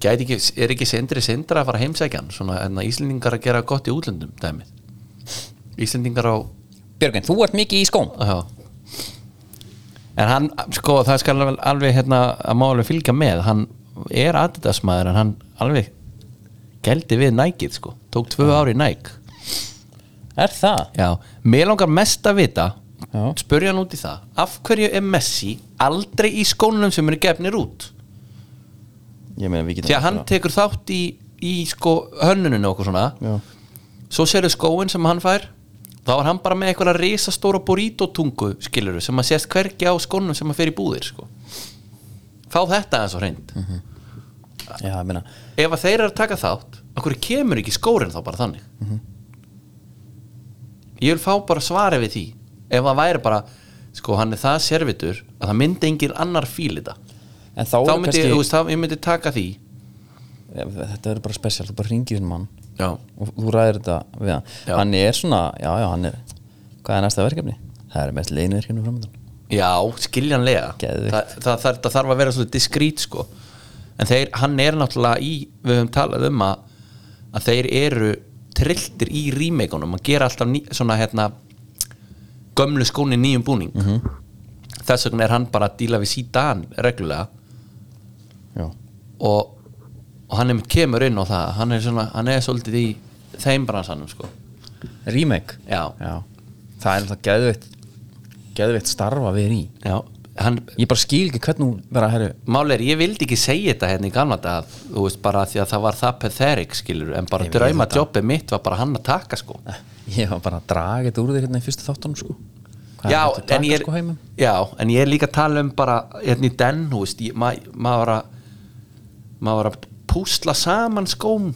Gæti ekki, er ekki sendri sendra að fara að heimsækja hann svona en að Íslendingar að gera gott í útlöndum dæmið Íslendingar á
Björgvin, þú ert mikið í skóm
já. en hann sko það skal alveg- alveg hérna að má alveg fylgja með hann er aðdæðasmaður en hann alveg gældi við nækið sko tók tvö ári næk
Er það?
já, mér langar mest að vita
Já.
spurja hann út í það af hverju er Messi aldrei í skónunum sem eru gefnir út
Ég meina við getum
því að hann tekur þátt í, í sko hönnuninu og okkur svona
Já.
svo sérðu skóin sem hann fær þá var hann bara með einhverja risastóra burrito-tungu skiluru sem að sést hvergi á skónum sem að fer í búðir sko. fá þetta eins og hreint
Mhm. Já, ég meina
ef að þeir eru að taka þátt af hverju kemur ekki skórin þá bara þannig
Mhm.
ég vil fá bara svarið við því ef það væri bara sko hann er það servitur að það myndi engin annar fíl þetta
En þá,
þá
er
myndi,
kannski
þú veist, þá, ég myndi taka því
Ef- Þetta verður bara spesial, þú bara ringir þinn mann
já,
og þú ræðir þetta við hann
Já.
Hann er svona, já, já, hann er Hvað er næsta verkefni? Það er mest leinverkefni framöndan
Já, skiljanlega
Geðvikt.
það, það, það, það þarf að vera svolítið diskrít sko En þeir, hann er náttúrulega í Við höfum talað um að, að þeir eru trilltir í rímeikunum að gera alltaf ný, svona hérna gömlu skóni nýjum búning Þess vegna er hann bara að díla við síðan reglulega
já,
og, og hann einmitt kemur inn á það hann er, svona, hann er svolítið í þeim bransanum sko
remake
Já.
það er alltaf geðveitt geðveitt starfa við er í
Já, hann,
ég bara skil ekki hvernig hún vera herri
Mál er, ég vildi ekki segja þetta hérna í gamla dag þú veist bara því að það var það pathetic skilur, en bara
Ég veit
drauma
þetta.
jobbið mitt var bara hann að taka sko
[LAUGHS] ég var bara að draga þetta úr þér hérna í fyrstu þáttunum sko hvað
já,
er þetta að
en
taka
ég,
sko
er,
heimum
já, en ég er líka að tala um bara hérna í den, þú veist ég- ma- maður var að maður var að púsla saman skóm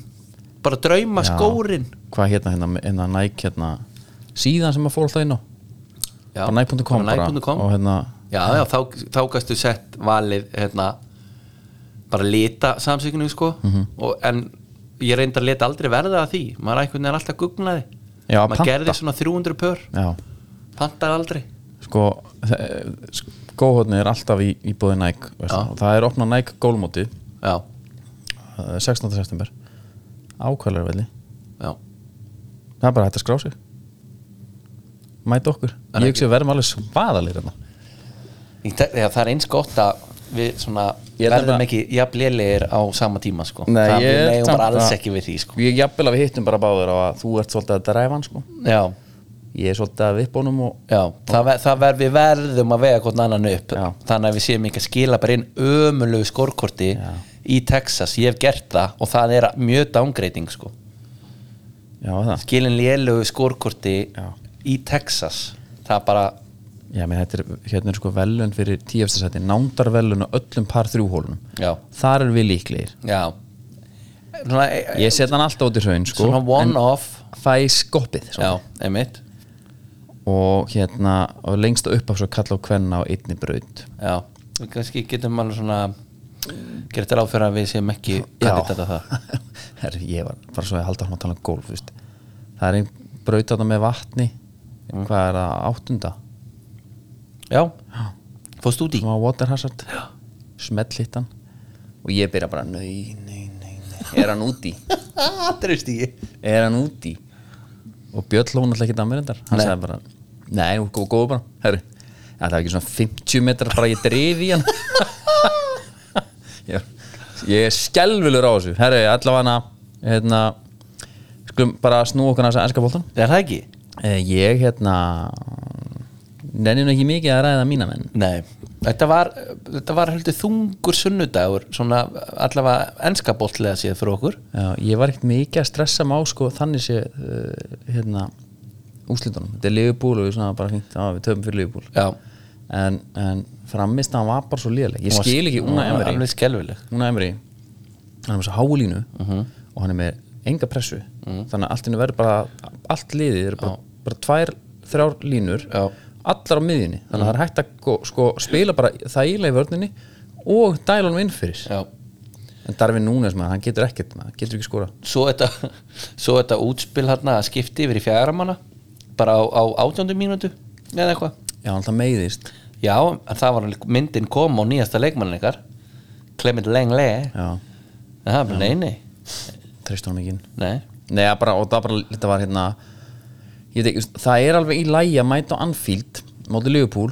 bara drauma
Já.
skórin
hvað hérna, hérna, hérna Nike hérna, síðan sem að fór alltaf inn á
já,
bara Nike.com bara
Nike.com.
og hérna,
já, já, þá, þá gæstu sett valið hérna bara lita samsöknu sko og, en ég reyndi að leta aldrei verða að því maður einhvern veginn alltaf gugnaði
Já,
maður
panta.
gerði svona 300 pör
já,
pantaði aldrei
sko skóhóðni er alltaf í, í búði Nike veist,
Já.
og það er opnað Nike gólmóti
já,
eh, 16. september ákvæðlega velli
já,
það er bara hægt að skrá sig mæta okkur, ég hugsi að verðum alveg svaðalir hérna.
Ég tek- já það er eins gott að við svona
Ég er
verðum
nefnilega-
ekki jafnlélegir á sama tíma sko
Nei, ég
það við
er
megum
samt
bara alls
að-
ekki við því sko
ég jafnvel að við hittum bara báður á að þú ert svolítið að dræfa hann sko
já,
ég er svolítið að vipp honum og
já, það, ver, það ver, við verðum að vega hvort annan upp
Já.
þannig að við séum ekki að skila bara inn ömulegu skorkorti
Já.
í Texas, ég hef gert það og það er mjög downgrading sko
já, það,
skilin lélegu skorkorti
Já.
í Texas það er bara,
já, menn þetta er hérna er sko velun fyrir tíafstasæti nándarvelun og öllum par þrjúhólunum
já,
þar er við líklegir
já svona, e-
ég set hann alltaf út í hraun sko
svona
en
one off
fæ skoppið sko.
já,
svolítið.
einmitt
og hérna og lengst upp af svo kalla og kvenna á einni braut
já, við kannski getum alveg svona gera þetta ráð fyrir að við séum ekki kandidata það
[LAUGHS] Herru, ég var bara svo að halda hann að tala um golf veist. það er einn braut þarna með vatni hvað er það, áttunda
já, fórst út í
sem á water hazard smell hitt hann og ég byrja bara, nei, nei, nei, nei er hann úti,
aðrist í
er hann úti og Björn lóna alltaf ekki að mér endar hann
Nei.
sagði bara, nei, hún góð, góð bara herru, það er ekki svona 50 metrar bara ég dreif í [LAUGHS] hann ég, ég er skelvilur á þessu, herru, allavega hérna, skulum bara snú okkur að þess að enska bóltan
er það ekki?
Eh, Ég hérna Nennir nú ekki mikið að ræða mína menn
Nei, þetta var, þetta var heldur þungur sunnudagur svona allavega enskabóttlega séð fyrir okkur
Já, Ég var ekkert mikið að stressa má sko, þannig sé uh, hérna úslitunum, þetta er liðbúl og við svona bara fínt, á, við töfum fyrir liðbúl
Já,
en, en framist hann var bara svo liðleg ég skil ekki
Hún
Una
var
Emery
Alveg skelvileg
Una Emery, hann er með svo háulínu
Mhm.
og hann er með enga pressu þannig að allt henni verður bara allt liðið er bara, bara tvær, þrjár línur
Já. Mhm.
allar á miðjunni þannig að það er hægt að go- sko, spila bara þægilega í vörninni og dæla hann inn fyrir
Já.
en Darvin Núnes maður, hann getur ekkert maður, getur ekki skora
Svo þetta, [LAUGHS] svo þetta útspil hérna að skipti yfir í fjæramanna bara á, á átjöndu mínútu eða eitthvað
já, hann alltaf meiðist
Já, en það var alveg- myndin kom á nýjasta leikmannin ykkar Clement Lengle En
já,
það var bara nei, nei,
treyst hann mikið
nei
Nei, það bara, og það bara, þetta var hérna ég veit ekki, þú veist, það er alveg í lægi að mæta á Anfield, móti Liverpool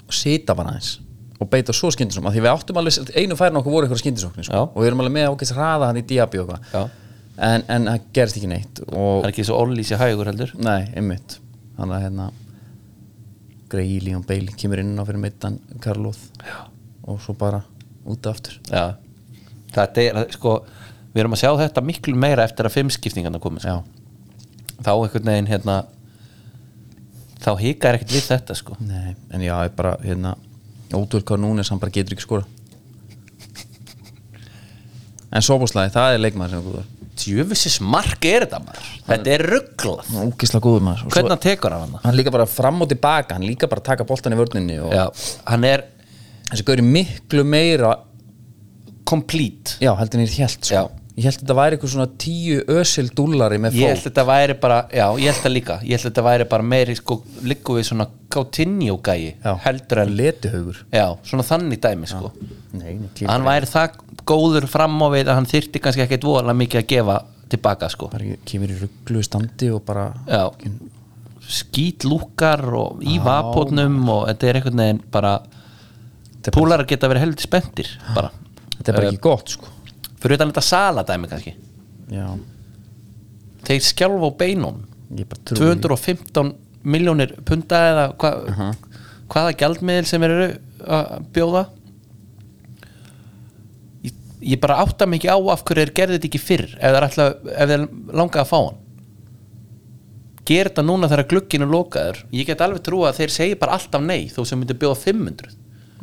og sita bara aðeins og beita svo skyndisum, af því við áttum alveg einu færin okkur voru eitthvað skyndisóknir sko,
Já.
og við erum alveg með ákveðs hraða hann í Diaby og
Já.
eitthvað en, en það gerist ekki neitt
Það
og,
er ekki svo ólýsi hægur heldur
nei, einmitt þannig að hérna Greili og Bale kemur inn á fyrir meittan Karlóð og svo bara út aftur
Já, þetta er sko við erum að sjá þetta miklu meira eftir að fimm skiptingarna komi sko.
Já,
þá einhvern veginn hérna þá hikar ekkert við þetta sko
nei, en já, ég bara hérna, ótrúð hvað núna hann bara getur ekki skora En sóbúslæði, það er leikmaður sem er góður
djöfisins mark er þetta maður þetta er rugglað,
Hann er Ógislega góður maður Og svo-
hvernig hann tekur hann hann
Hann líka bara fram og tilbaka, hann líka bara að taka boltan í vörninni og
Já, hann er
þessi gaur er miklu meira
complete
Já, heldur hann er hjælt sko.
Já.
ég held að þetta væri eitthvað svona tíu ösil dúllari með
Ég held
fólk
þetta væri bara, já, ég held það líka Ég held þetta væri bara meiri, sko, liggu við svona Coutinho gæi, heldur en
letihaugur
Já, svona þannig dæmi, sko
Nei, nei,
Að Hann væri það góður fram á við að hann þyrfti kannski ekkert voðalega mikið að gefa tilbaka, sko
bara ekki- kemur í rugglu standi og bara
Já, skítlúkar og í vapotnum og þetta er einhvern veginn bara
Þetta er bara-
Púlar geta verið heldur spenntir, bara
þetta er bara ekki gott sko
Fyrir utan þetta saladæmi kannski
já,
Þeir skjálfa á beinunum
ég bara trúi því.
215 miljónir punda eða hva, hvaða gjaldmiðil sem þeir eru að bjóða ég, ég bara átta mig ekki á af hverju þeir gerði þetta ekki fyrr ef þeir, ætla, ef þeir langa að fá hann ger þetta núna þegar glugginn er lokaður ég get alveg trúa að þeir segi bara alltaf nei þó sem myndi bjóða 500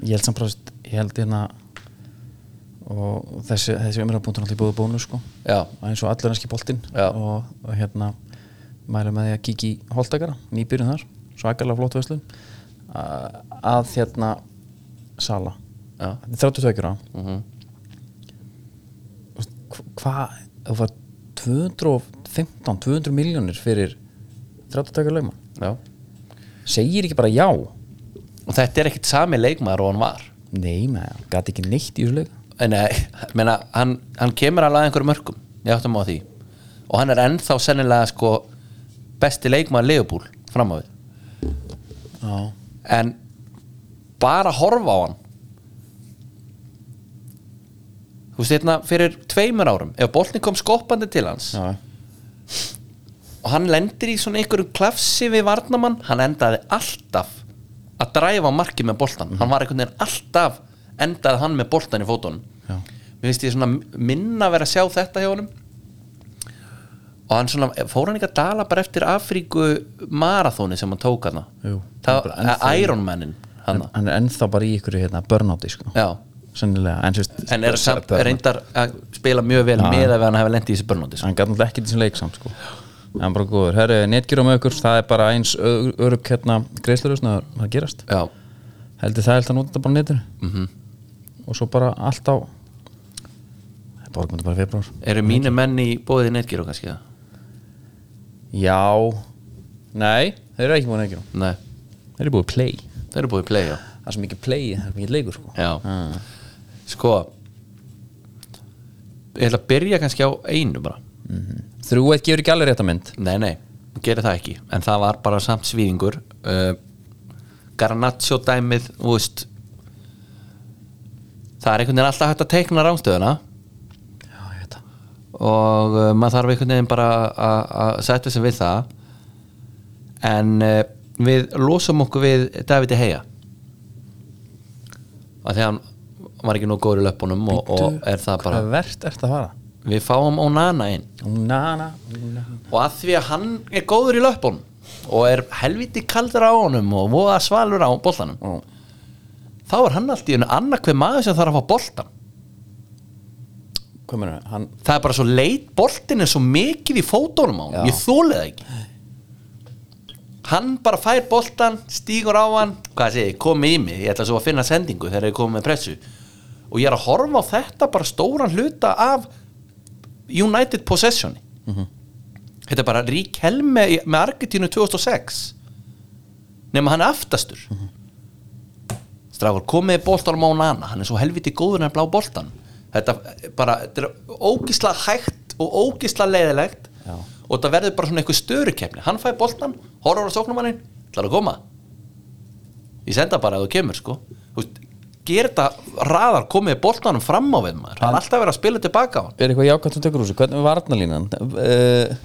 ég held samt bráðist, ég held hérna og þessi, þessi umræðbúntur náttúrulega búið bónu sko
Já.
eins og allur ennski boltinn
Já.
og, og hérna mælum með því að kíkja í holdakara nýbyrjun þar, svakalega flott veslun að, að hérna sala
Já.
32 ára mm -hmm. hvað það var 215 200 miljónir fyrir 32 ára leikmann
já.
segir ekki bara já
og þetta er ekkit sami leikmaður og hann var
nei maður, gæti ekki neitt í þessu leik
En, Nei, meina, hann, hann kemur alveg að einhverjum mörkum ég áttum á því og hann er ennþá sennilega sko besti leikmaður Leopold fram á við
já
en bara horfa á hann þú veist hérna fyrir tveimur árum ef boltin kom skoppandi til hans
Já.
og hann lendir í svona einhverju klafsi við varnamann hann endaði alltaf að dræfa marki með boltan
Mhm.
hann var einhvern veginn alltaf endaði hann með boltan í fótunum
Já.
mér finnst ég svona minna vera að sjá þetta hjá honum og hann svona fór hann ekki að dala bara eftir Afríku marathóni sem hann tók hana
Jú.
það,
Bara ennþá í-
Ironmanin
hann,
hana
hann er ennþá bara í ykkur hérna, burnouti sko.
já
sennilega en, sérst,
en er samt reyndar að spila mjög vel
hérna. Já.
með að hann hefði lendið í þessu börnóti sko.
hann gæti náttúrulega ekki þessum leik samt sko. hann er bara góður, herru, netgjur á með ykkur það er bara eins örug hérna greiðslurusna að gerast,
já,
heldur það held að nota þetta bara á netinu
Mhm.
-hmm. og svo bara allt á Það er bara komið bara februar
eru mínu menn í bóðið netgíru kannski það?
já, nei, þeir eru ekki búin að ekki
nei,
þeir eru búin að play,
þeir eru búið í play já
það er svo mikið play það er svo mikið leikur sko.
Já, sko Ég ætla að byrja kannski á einu bara
Mhm. þrjú eitt gefur ekki alveg rétt að mynd
Nei, nei, hún gerir það ekki En það var bara samt svíðingur uh, Garnaccio dæmið þú veist Það er einhvern veginn alltaf hægt að teikna rángstöðuna
já, ég veit það
og uh, maður þarf einhvern veginn bara að- að setja sig við það en uh, við losum okkur við Davide Heia að því að hann var ekki nú góður í löpunum og, og er það bara
hvað verðt ert að fara?
við fáum Onana inn
Nana, nana.
og að því að hann er góður í löpunum og er helviti kaldur á honum og voða svalur á boltanum
Ó.
þá er hann allt í einu annar hver maður sem þarf að fá boltan
Hvað meina, hann
það er bara svo leit boltin er svo mikið í fótónum á hann, ég þólið það ekki hann bara fær boltan stígur á hann, hvað segi, komið í mig ég ætla svo að finna sendingu þegar ég komið með pressu og ég er að horfa á þetta bara stóran hluta af United Possessioni þetta er bara Rík Helme í- með Argentínu 2006 nema hann er aftastur mm -hmm. strafur, komið boltanum á nana hann er svo helviti góður en blá boltan þetta er bara, þetta er ógisla hægt og ógisla leiðilegt
Já.
og þetta verður bara svona einhver störukefni hann fæ boltan, horfur á sóknumannin ætlar að koma ég senda bara að þú kemur sko Þú veist, gera þetta raðar komið boltanum fram á við maður, hann er alltaf verið að spila tilbaka á hann
er eitthvað jákvæmt sem tekur úr þessu, hvernig var varnalínan uh,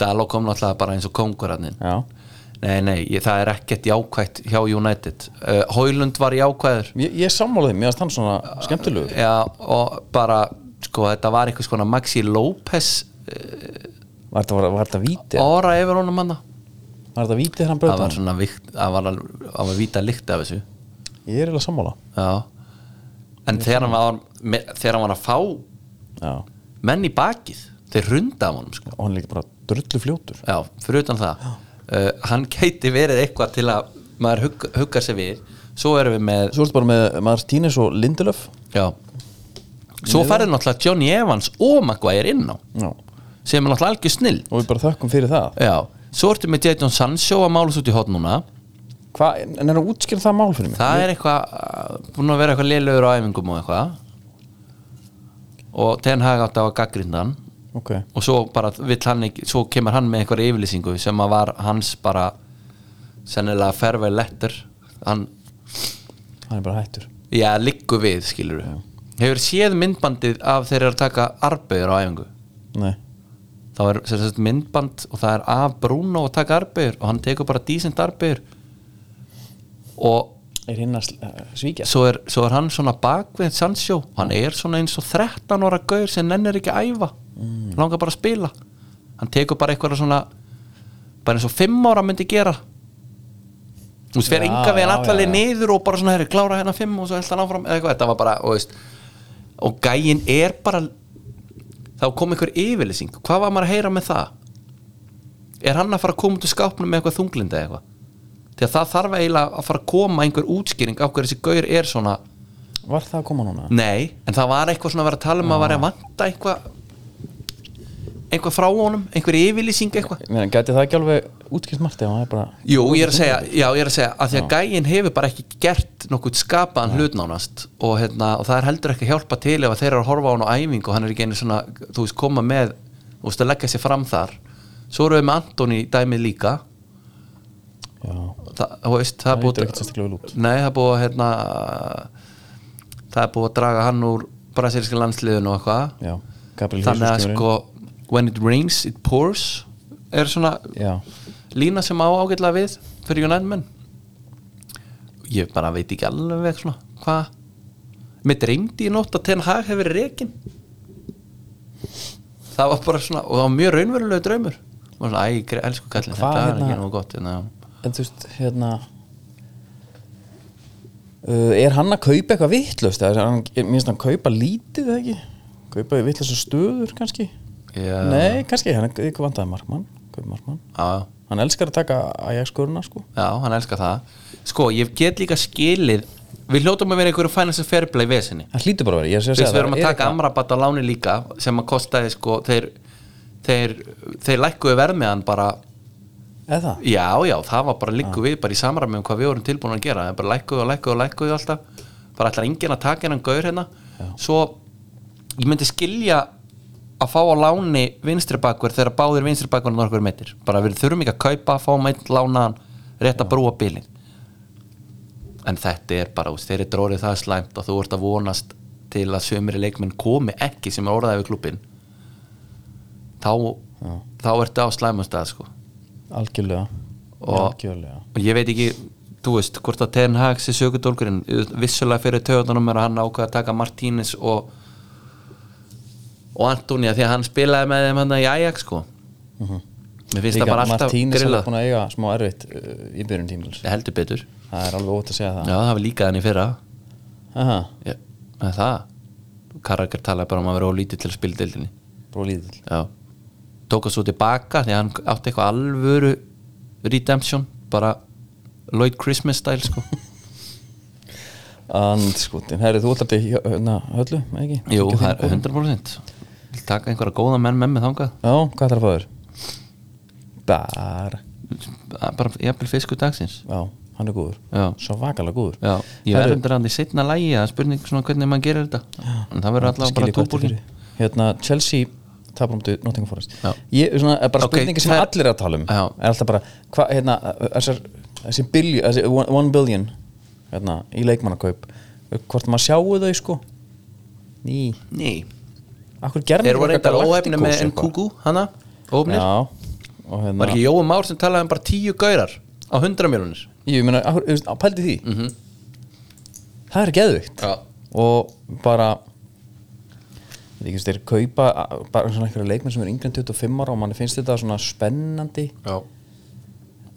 Daló kom náttúrulega bara eins og kongurarnin
já,
Nei, nei, ég, það er ekkert jákvætt hjá United uh, Hólund var jákvæður
ég, ég sammála þeim, mér varst hann svona skemmtilegur
Já, og bara, sko, þetta var einhvers konar Maxi López
var þetta, var, var þetta víti,
Óra yfir honum hann
var þetta víti þegar hann
Það
bröði
var svona vikt, það var, alveg- það var víta líkt af þessu
ég er eiginlega sammála
Já En þegar hann var, me- þegar hann var að fá
já.
menn í bakið Þeir runda af honum, sko
og hann er líka bara drullu fljótur
Já, fyrir utan það uh, Hann gæti verið eitthvað til að maður hugg, huggar sig við Svo erum við með
svo er þetta bara með Martínez og Lindelöf
Já Svo færði náttúrulega Johnny Evans og Maguire inn á
Já.
sem er náttúrulega algjör snill
og við bara þökkum fyrir það
Já, svo ertu með Jadon Sancho að mála svo út í hot núna
Hva, en er það útskýrð það mál fyrir mig?
Það er eitthvað, uh, búin að vera eitthvað lélugur á æfingum og eitthvað og Ten Hag átt á að gaggrinda hann
ok,
og svo bara vill hann ekki, svo kemur hann með eitthvað yfirlýsingu sem að var hans bara sennilega fervei letter hann,
hann er bara hættur
já, liggu við skilur við, hefur séð myndbandið af þeir eru að taka arbegur á æfingu
nei,
þá er sem sagt, myndband og það er af Bruno að taka arbegur og hann tekur bara dísent arbegur og
er hinn að sl- eh, svíkja
svo er, svo er hann svona bakvið Sancho, hann er svona eins og 13 ára gaur sem nennir ekki að æfa langar bara að spila hann tekur bara eitthvað svona bara eins og 5 ára myndi gera þú veist, fyrir
Já,
ynga við hann
já, já,
allalegi
já.
niður og bara svona, herri, klára hérna 5 og svo held hann áfram eða eitthvað, þetta var bara, og veist og gæin er bara þá kom einhver yfirlýsing hvað var maður að heyra með það er hann að fara að koma út úr skápnum með eitthvað þunglinda eða eitthvað þegar það þarf eiginlega að fara að koma einhver útskýring á hverju þessi gaur er svona
var það að koma núna?
nei, en það var eitthvað svona að vera að tala um að vera að vanta eitthvað eitthvað frá honum, einhver yfirlýsing eitthvað
Nei, gæti það ekki alveg útskýrt margt ef hann er bara
Jú, ég er að segja, já, ég er að segja að því að gæin hefur bara ekki gert nokkuð skapaðan hlut nánast og, hérna, og það er heldur ekki að hjálpa til ef að þeir eru að horfa á hann á æfingu og hann er ekki einu svona, þú veist, koma með þú veist, að leggja sér fram þar svo erum við með Antoni dæmið líka
já,
það, þú veist, það
Það
er búið
lítur ekkert sérstaklega vel út.
Nei, það er búið að hérna, það er búið að draga hann úr brasilíska landsliðinu og eitthvað
já, Gabriel
þannig að
Jesus kemur
sko, when it rains, it pours er svona
inn. já,
lína sem á ágætlega við fyrir United menn ég bara veit ekki alveg svona hvað mér dreymdi í nótt að Ten Hag hefur verið rekin það var bara svona og það var mjög raunverulegu draumur og svona, æ, gre- elsku kallin,
Hvað
þetta er
hérna-
ekki nú gott hérna.
en þú veist, hérna uh, er hann að kaupa eitthvað vittlust eða er hann, er- mér finnst hann kaupa lítið eða ekki kaupa vittlustu stöður kannski
Já.
nei, kannski, hann er ykkur vandaði markmann kaupa markmann,
já, já,
hann elskar að taka Ajax-skuruna sko,
já, hann elskar það sko, ég get líka skilið við hljótum að vera einhverju fænast að ferblei vesinni
hann hlýtur bara að vera ég sé að
Þú
segja
veist, við
það,
erum að
er
taka
eitthvað-
Amrabat á láni líka sem að kostaði sko þeir, þeir, þeir lækkuðu verð með hann bara
eða það?
Já, já, það var bara líku við bara í samræmi um hvað við vorum tilbúin að gera það er bara lækkuðu og lækkuðu og lækkuðu alltaf bara ætlar enginn að taka hennan gaur hérna svo ég myndi skilja að fá á láni vinstri bakver þegar báðir vinstri bakver norgur meittir, bara við þurfum ekki að kaupa fá meitt lánaðan, rétt að brúa bílin en þetta er bara, þú veist, þeir eru drórið það slæmt og þú ert að vonast til að sömri leikminn komi ekki sem er orðaði við klubbin þá, þá ertu á slæmum stað sko
algjörlega,
Og-
algjörlega.
og ég veit ekki, þú veist, hvort að Ten Hag sé sökudólkurinn, vissulega fyrir töðunum er að hann ákveða að taka Martínez og og Antonija því að hann spilaði með þeim hann í Ajax sko mér finnst það
Mhm. Líka
bara alltaf
Martínez er
grilla
búin að eiga smá erfitt uh, í byrjun tímils
heldur betur,
það er alveg ótt að segja
já
það
það var líka hann í fyrra
Aha,
já, með það Karakar talaði bara um að vera ólítið til að spila í deildinni
brú lítill
já, tók að svo tilbaka því að hann átti eitthvað alvöru redemption, bara Lloyd Christmas style sko
Andskotin, herri þú ætlar til hjö- hérna, höllu, eða ekki?
Jú,
Ekki
það er
þín?
100% Vil taka einhverja góða menn með mig þangað
Já, hvað ætlar að fá þér? Bar
Bara- bara jafnvel fiskur dagsins
Já, hann er góður
Já.
Svo vakalega góður
Já, ég
Herru,
verður undir hann í setna lægi það er spurning svona hvernig maður gerir þetta en það verður allavega
skil
bara
ég hvað þetta
túbúrgin
fyrir. Hérna, Chelsea tapar um til Nottingham Forest
Já.
Ég, svona, er bara
Ok,
spurningi sem
það er-
allir er að tala um
Já.
Er alltaf bara, hvað, hérna, þessar Þessi billion, þessi one- one billion Hérna, í leikmannakaup Hvort maður sjáu þau, sko Ný,
Ný,
akkur gerðum
þeir voru eitthvað óefni með Nkuku hana, óefnir
Já, og hérna
Var ekki Jóa Már sem talaði um bara tíu gaurar á 100 miljonir
Ég meina, akkur, þú veist, á, pældi því
Mhm.
Það er geðvikt
Já.
Og bara Ég veit ekki, þú veist, þeir kaupa a- bara svona einhverja leikmenn sem er yngri en 25 ára og manni finnst þetta svona spennandi
Já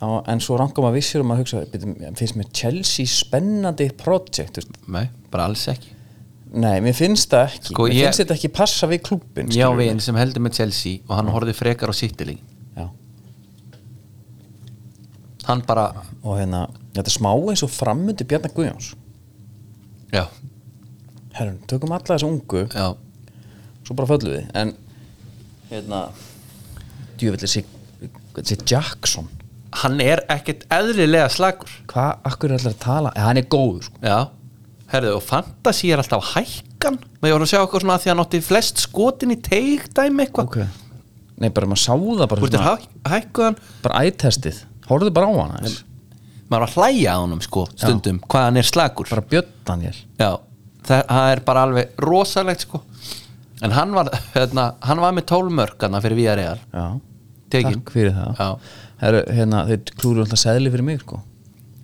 á, en svo rangar maður vissir og maður hugsa byrjum, finnst mér Chelsea spennandi project þú veist.
Nei, bara alls ekki
Nei, mér finnst það ekki
Sko,
Mér
ég-
finnst þetta ekki passa við klúbbin
Já, við einn sem heldur með Chelsea og hann horfði frekar á sittiling
Já.
Hann bara,
Og hérna, þetta er smá eins og frammyndu Bjarnar Guðjóns
já
herrun, tökum alla þessa ungu
já,
svo bara föllum við en hérna djöfellir sig, sig Jackson
hann er ekkert eðlilega slagur
hvað, akkur er allir að tala eða hann er góður sko
já, herðu, og fantasi er alltaf hækkan maður voru að sjá okkur svona að því að hann átti flest skotin í teig dæmi eitthvað okay.
nei, bara maður sá það bara,
búið til
svona,
hæ, hækkuðan
bara ættestið, horfðu bara á hann aðeins.
maður var að hlæja á honum sko stundum, hvað hann er slagur
bara Björn Daniel
já, það, það er bara alveg rosalegt sko en hann var, hérna, hann var með tólmörkana fyrir VRL
já,
Tekin.
takk fyrir það
Já.
Heru, hérna, þeir klúru alltaf seðli fyrir mig sko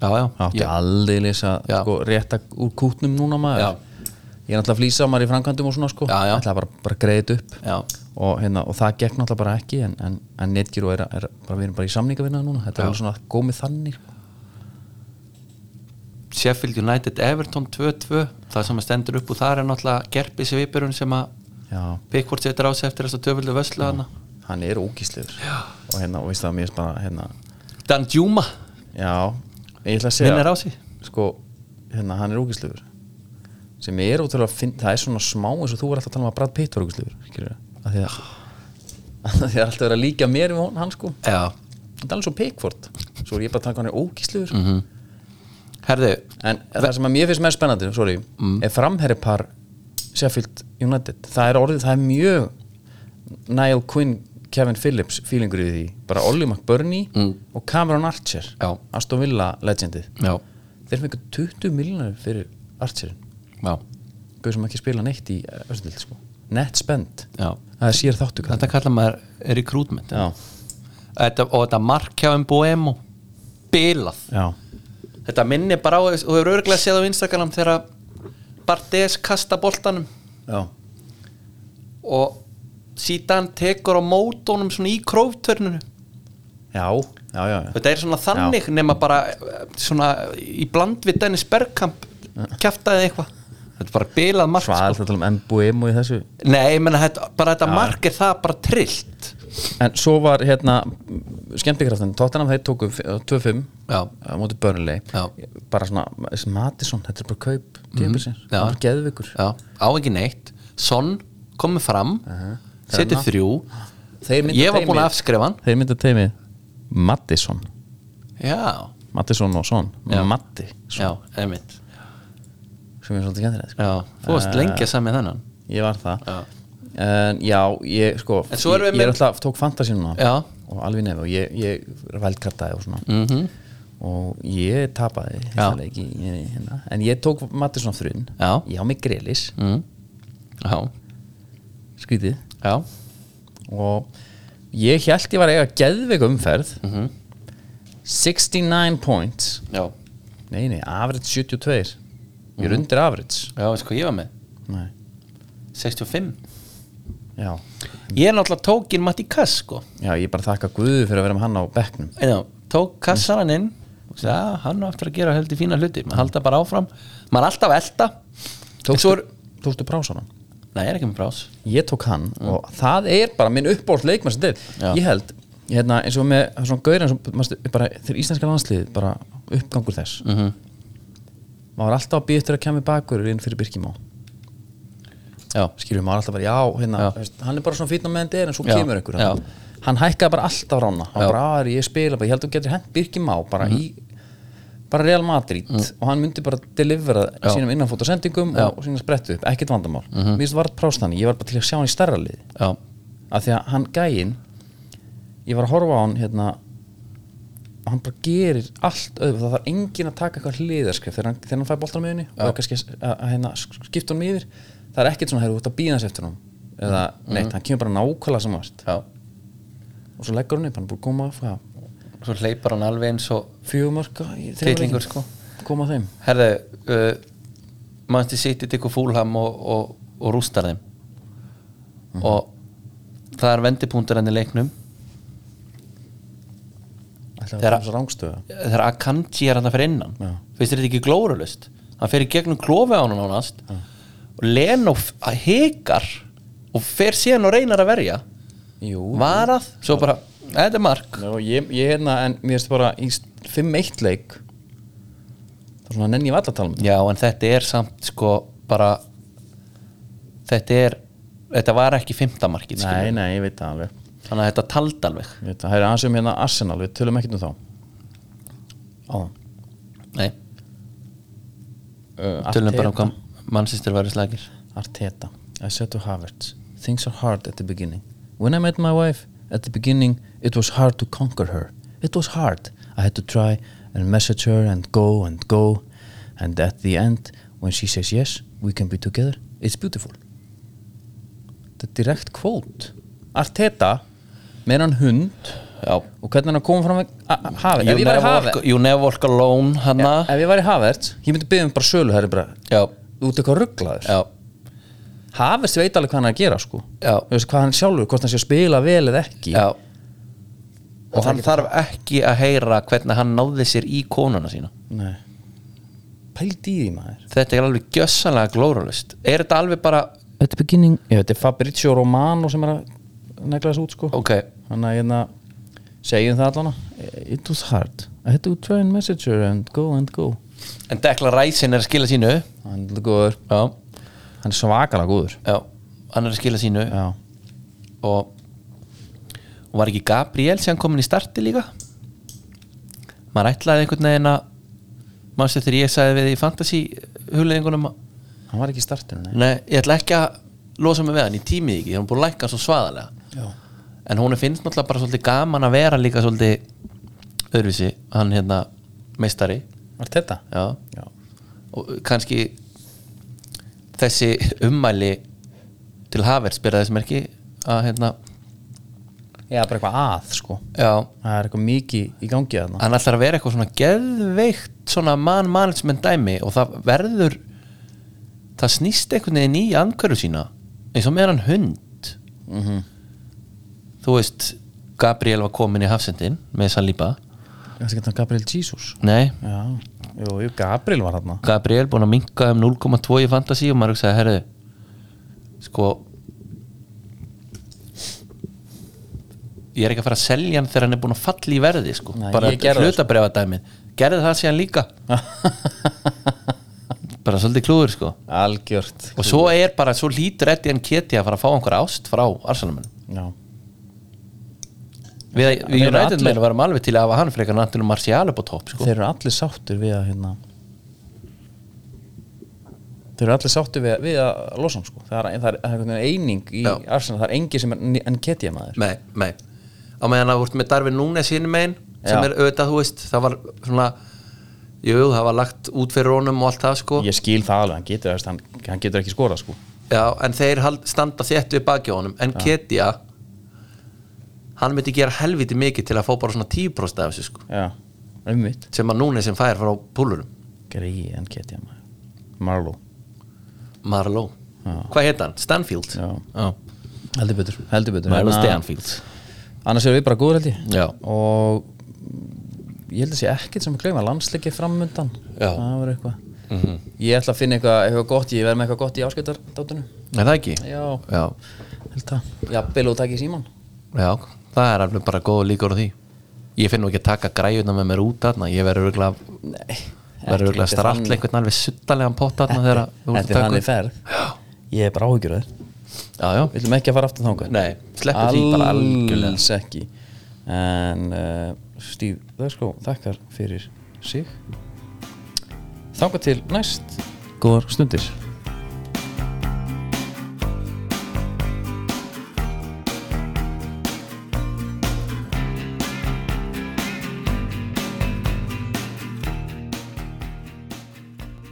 já, já,
átti
já,
aldeilis að
Já.
sko, rétta úr kútnum núna maður
Já.
ég er náttúrulega að flýsa maður í framkvæmdum og svona sko
Já, já.
ætlaði bara, bara greiðið upp
já,
og, hérna, og það gekk náttúrulega bara ekki en, en, en Netgyro er, er bara, við erum bara í samningavinna núna þetta
Já.
er alveg svona gómið þannig
Sheffield United Everton 2-2 það sem að stendur upp úr þar er náttúrulega gerpi svipurinn sem að
já,
Pickford setur á sig eftir þess að töfullu vöslu hana
hann er ógísliður og hérna, og veist það, mér finnst bara hérna,
Dan Djúma
já, ég ætla að segja
minnir á sig
sko, hérna, hann er ógísliður sem er ótrúlega finn, það er svona smá eins og þú er alltaf að tala um að Brad Pitt var ógísliður skilur að því [LAUGHS] að að því að alltaf verið að líka mér um hann sko
já,
þetta er alveg svo Pickford svo er ég bara að taka hann er sko. ógísliður
herðu,
en það sem að mér finnst mér spennandi sorry,
Mm.
er framherripar Sheffield United það er orðið, það er mjög Niall Quinn, Kevin Phillips feelingur í því, bara Ollie McBurney og Cameron Archer
Mm. Já.
Aston Villa legendið
já,
þeir fengur 20 miljonar fyrir Archerin
já,
gauð sem ekki spila neitt í östudild sko. net spend,
já
það er sér þáttu kallar.
þetta kallar maður recruitment
já,
þetta, og þetta markjáum boemo bilað
já,
þetta minni bara á og þú hefur örglega séð á Instagram þegar Bartes kasta boltanum
já
og síðan tekur á mótónum svona í króftörnunu
já, já, já, já.
þetta er svona þannig nema bara eh, svona í bland við Dennis Bergkamp kjaftaði eitthvað þetta er bara bilað mark
hvað er
sko.
þetta að tala um MBM og í þessu
nei, ég menna þetta, bara þetta mark er það bara trillt
En svo var hérna skemmtikraftin, Tottenham þeir tóku f- 2-5
Já.
á móti Burnley
Já. Mhm.
bara svona, þessi Matisson þetta er bara kaup, tíðbilsins,
Já.
hann var geðvikur
Já, á ekki neitt Son komið fram uh setið þrjú
Þeir mynda
ég var búin að afskrifa hann
Þeir mynda teimið Mattisson,
já,
Mattisson og Son
Já.
Matti,
já, einmitt
sem er svolítið skemmtilegt sko.
já, þú varst lengi að samið þennan
Ég var það
Já.
En já, ég sko
En svo erum við
Ég, ég er
með-
alltaf, tók fantasínu núna
Já. Mm.
og alveg nefn og ég, ég veldkartaði og svona
mhm,
-hmm. og ég tapaði
Já.
þessa leik í- í- hérna. en ég tók Mattisson þrun
Já.
ég á mig greilis,
mm. já,
skrítið
já,
og ég held ég var að eiga geðveik umferð -hmm.
Mhm.
69 points
já,
nei, nei, average 72 ég
Mhm.
er undir average
já, veist hvað ég var með
nei.
65
já.
ég er náttúrulega tókin Matti Kass sko
já, ég bara þakka Guðu fyrir að vera með hann á bekknum
já, tók kassaran inn og sagði, já, hann á eftir að gera heldur fína hluti maður halda bara áfram, maður er alltaf að elta En svo
Tókstu,
er-
tókstu prásanan?
nei, ég er ekki með brás
ég tók hann og það er bara minn uppbólt leikmenn sem til,
Mm. Já.
ég held hérna, eins og með það er svona gaur eins og manstu, bara, þegar íslenska landslið bara uppgangur þess
Mhm.
-hmm. maður var alltaf að býja eftir að kemja bakur inn fyrir Birkimá
já,
skilur maður alltaf bara, já, hérna
Já.
Veist, hann er bara svona fýtn á meðan þetta er en svo
Já.
kemur einhver
Já.
hann hækkaði bara alltaf rána hann
Já. Mhm.
bara, "Ari, ég spila bara, ég held að þú getur hent Birkimá bara í bara Real Madrid og hann myndi bara delivera
Já. Mhm.
sínum innanfóta sendingum og, og sínum sprettu upp, ekkert vandamál mm -hmm. mér finnst var prást þannig, ég var bara til að sjá hann í stærra liði
já,
að því að hann gæinn ég var að horfa á hann hérna og hann bara gerir allt öðru það þarf enginn að taka eitthvað hliðarskrif þegar hann, þegar hann fær boltan með henni og er kannski að, að, að hérna, sk- skipta honum yfir það er ekkert svona hefur út að býða hans eftir honum eða neitt, hann kemur bara nákvæmlega sem varst
já
og svo leggur hann upp, hann er búið að koma af hvað,
svo hleypar hann alveg eins og
fjögumörka í þremur
Titlingur,
leikjum.
sko.
koma að þeim
herðu, uh, mannstu sýtti tekur fúlham og, og, og rústar þeim
Mhm.
og það er vendipunktur enn í leiknum
Ætlaði að
Þegar-
það er svo rángstöða
þegar Akanji er hann að fyrir innan
Já.
finnst þér þetta ekki glórulust hann fyrir gegnum klófi á hann ánast og Leno f- að hikar og fer síðan og reynar að verja
Jú,
varað, svo bara, þetta er mark
Njó, ég, ég hérna, en mér finnst bara í 5-1 leik þá svona nenni ég valla að tala um þetta.
já, en þetta er samt sko bara þetta er þetta var ekki fymta markið
Nei,
skilurðu.
nei, ég veit það alveg
þannig að þetta taldi alveg
Ég veit Það er aðeins um hérna Arsenal, við tölum ekkert um þá Áðan
nei,
uh,
tölum
Arteta.
bara um hvað mannsýstir væri slagir
Arteta, I said to Havertz Things are hard at the beginning When I met my wife at the beginning It was hard to conquer her It was hard I had to try and message her and go and go And at the end When she says yes, we can be together It's beautiful Þetta er direkt kvót Arteta með hann hund
já
og hvernig hann kom fram með hafið
You
ef ég væri
never,
hafið
walk, you never walk alone hanna
ef ég væri hafið ég myndi byggja um bara sölu það er bara
já,
út eitthvað rugglaður
já,
Hafist veit alveg hvað hann er að gera sko
Já.
Þú veist, hvað hann sjálfur, hvort hann sé að spila vel eða ekki
já og hann þarf ekki að heyra hvernig hann náði sér í konuna sína
Nei. pældi í því maður
þetta er alveg gjössanlega glóralust er þetta alveg bara,
Þetta er beginning Já, þetta er Fabrizio Romano sem er að negla þessu út sko
ok
Þannig að hérna segjum það allana It was hard I had to try and message her and go and go
en Dekla Ræsin er að skila sínu já,
Hann er góður Hann er svakalega góður
já, hann er að skila sínu
Já
og og var ekki Gabriel sem komin í starti líka maður ætlaði einhvern veginn að maður sér þegar ég sagði við í fantasy hugleðingunum að
Hann var ekki í startinu, nei
Nei, ég ætla ekki að losa mig við hann, ég tími því ekki, hún er búin að lækka svo svaðalega
Já.
en hún finnst náttúrulega bara svolítið gaman að vera líka svolítið öðruvísi, hann hérna meistari,
Var þetta?
já
Já
og kannski þessi ummæli til Havertz byrja þessum ekki að hérna,
Já, bara eitthvað að sko
já
Það er eitthvað mikið í gangi þarna
hann ætlar að vera eitthvað svona geðveikt svona man management dæmi og það verður það snýst einhvern veginn í andkörðu sína eins og með hann hund þú veist Gabriel var komin í hafsendin með Saliba
Það er ekki Gabriel Jesus
nei,
Já, jú, jú, Gabriel var þarna
Gabriel búin að minka um 0,2 í fantasi og maður hugsaði, herðu sko ég er ekki að fara að selja hann þegar hann er búin að falla í verði sko.
Nei,
bara
ég gerði það, sko.
hlutabrefað dæmið gerði það síðan líka
[LAUGHS]
bara svolítið klúður sko.
Algjört
og svo er bara, svo lítur Eddie en Keti að fara að fá einhverja ást frá Arsenalmenn
Já,
við, við
eru
United
allir-
menn varum alveg til að hafa hann frekar Nantinu Martial upp á topp sko.
þeir eru allir sáttur við að hérna Þeir eru allir sáttur við, við að losa hann sko Það er, það er, það er einhvern veginn eining í
Já.
Arsenal Það er engi sem er enketja maður
Nei, nei Á meðan að þú ert með Darvin Núnes hinn megin sem
Já.
er auðvitað, þú veist, það var svona Jú, það var lagt út fyrir honum og allt það sko
Ég skil það alveg, hann getur, þú veist, hann, hann getur ekki skorað sko
Já, en þeir hald, standa þétt við baki á honum en Ketja hann myndi gera helviti mikið til að fá bara svona 10% af þessu sko
Já, umvitt
sem að Núnes sem fær frá púlurum
Greið enketja maður Marlow
Marlow,
Já.
hvað heit hann? Stanfield?
Já.
Já.
Heldur betur, heldur betur
Marlow
Hérna,
Stanfield
Annars erum við bara góður held ég
Já.
Og ég held að sé ekkert sem að gleyma landsleiki framundan
Já. Mhm.
Það var eitthvað Ég ætla að finna eitthvað, eitthvað gott, ég verð með eitthvað gott í áskiptar dátunum
Er það ekki?
Já,
Já,
held það Jafnvel og takk í síman
Já, það er alveg bara góð líkur á því Ég finn nú ekki að taka græjuna með mér út þarna Ég verður örgulega verður örgulega
þetta er
strall
þannig.
einhvern alveg suttalegan pott þarna þegar að þú ert
Þetta
að
er
taka
þannig
upp.
ferð Ég er bara áhyggjur af þér
Já, já,
Við viljum ekki að fara aftur þangað
Nei, sleppum því bara algjörlega.
Alls ekki En uh, Stíf sko, Dagskó þakkar fyrir sig Þangað til næst Góðar stundir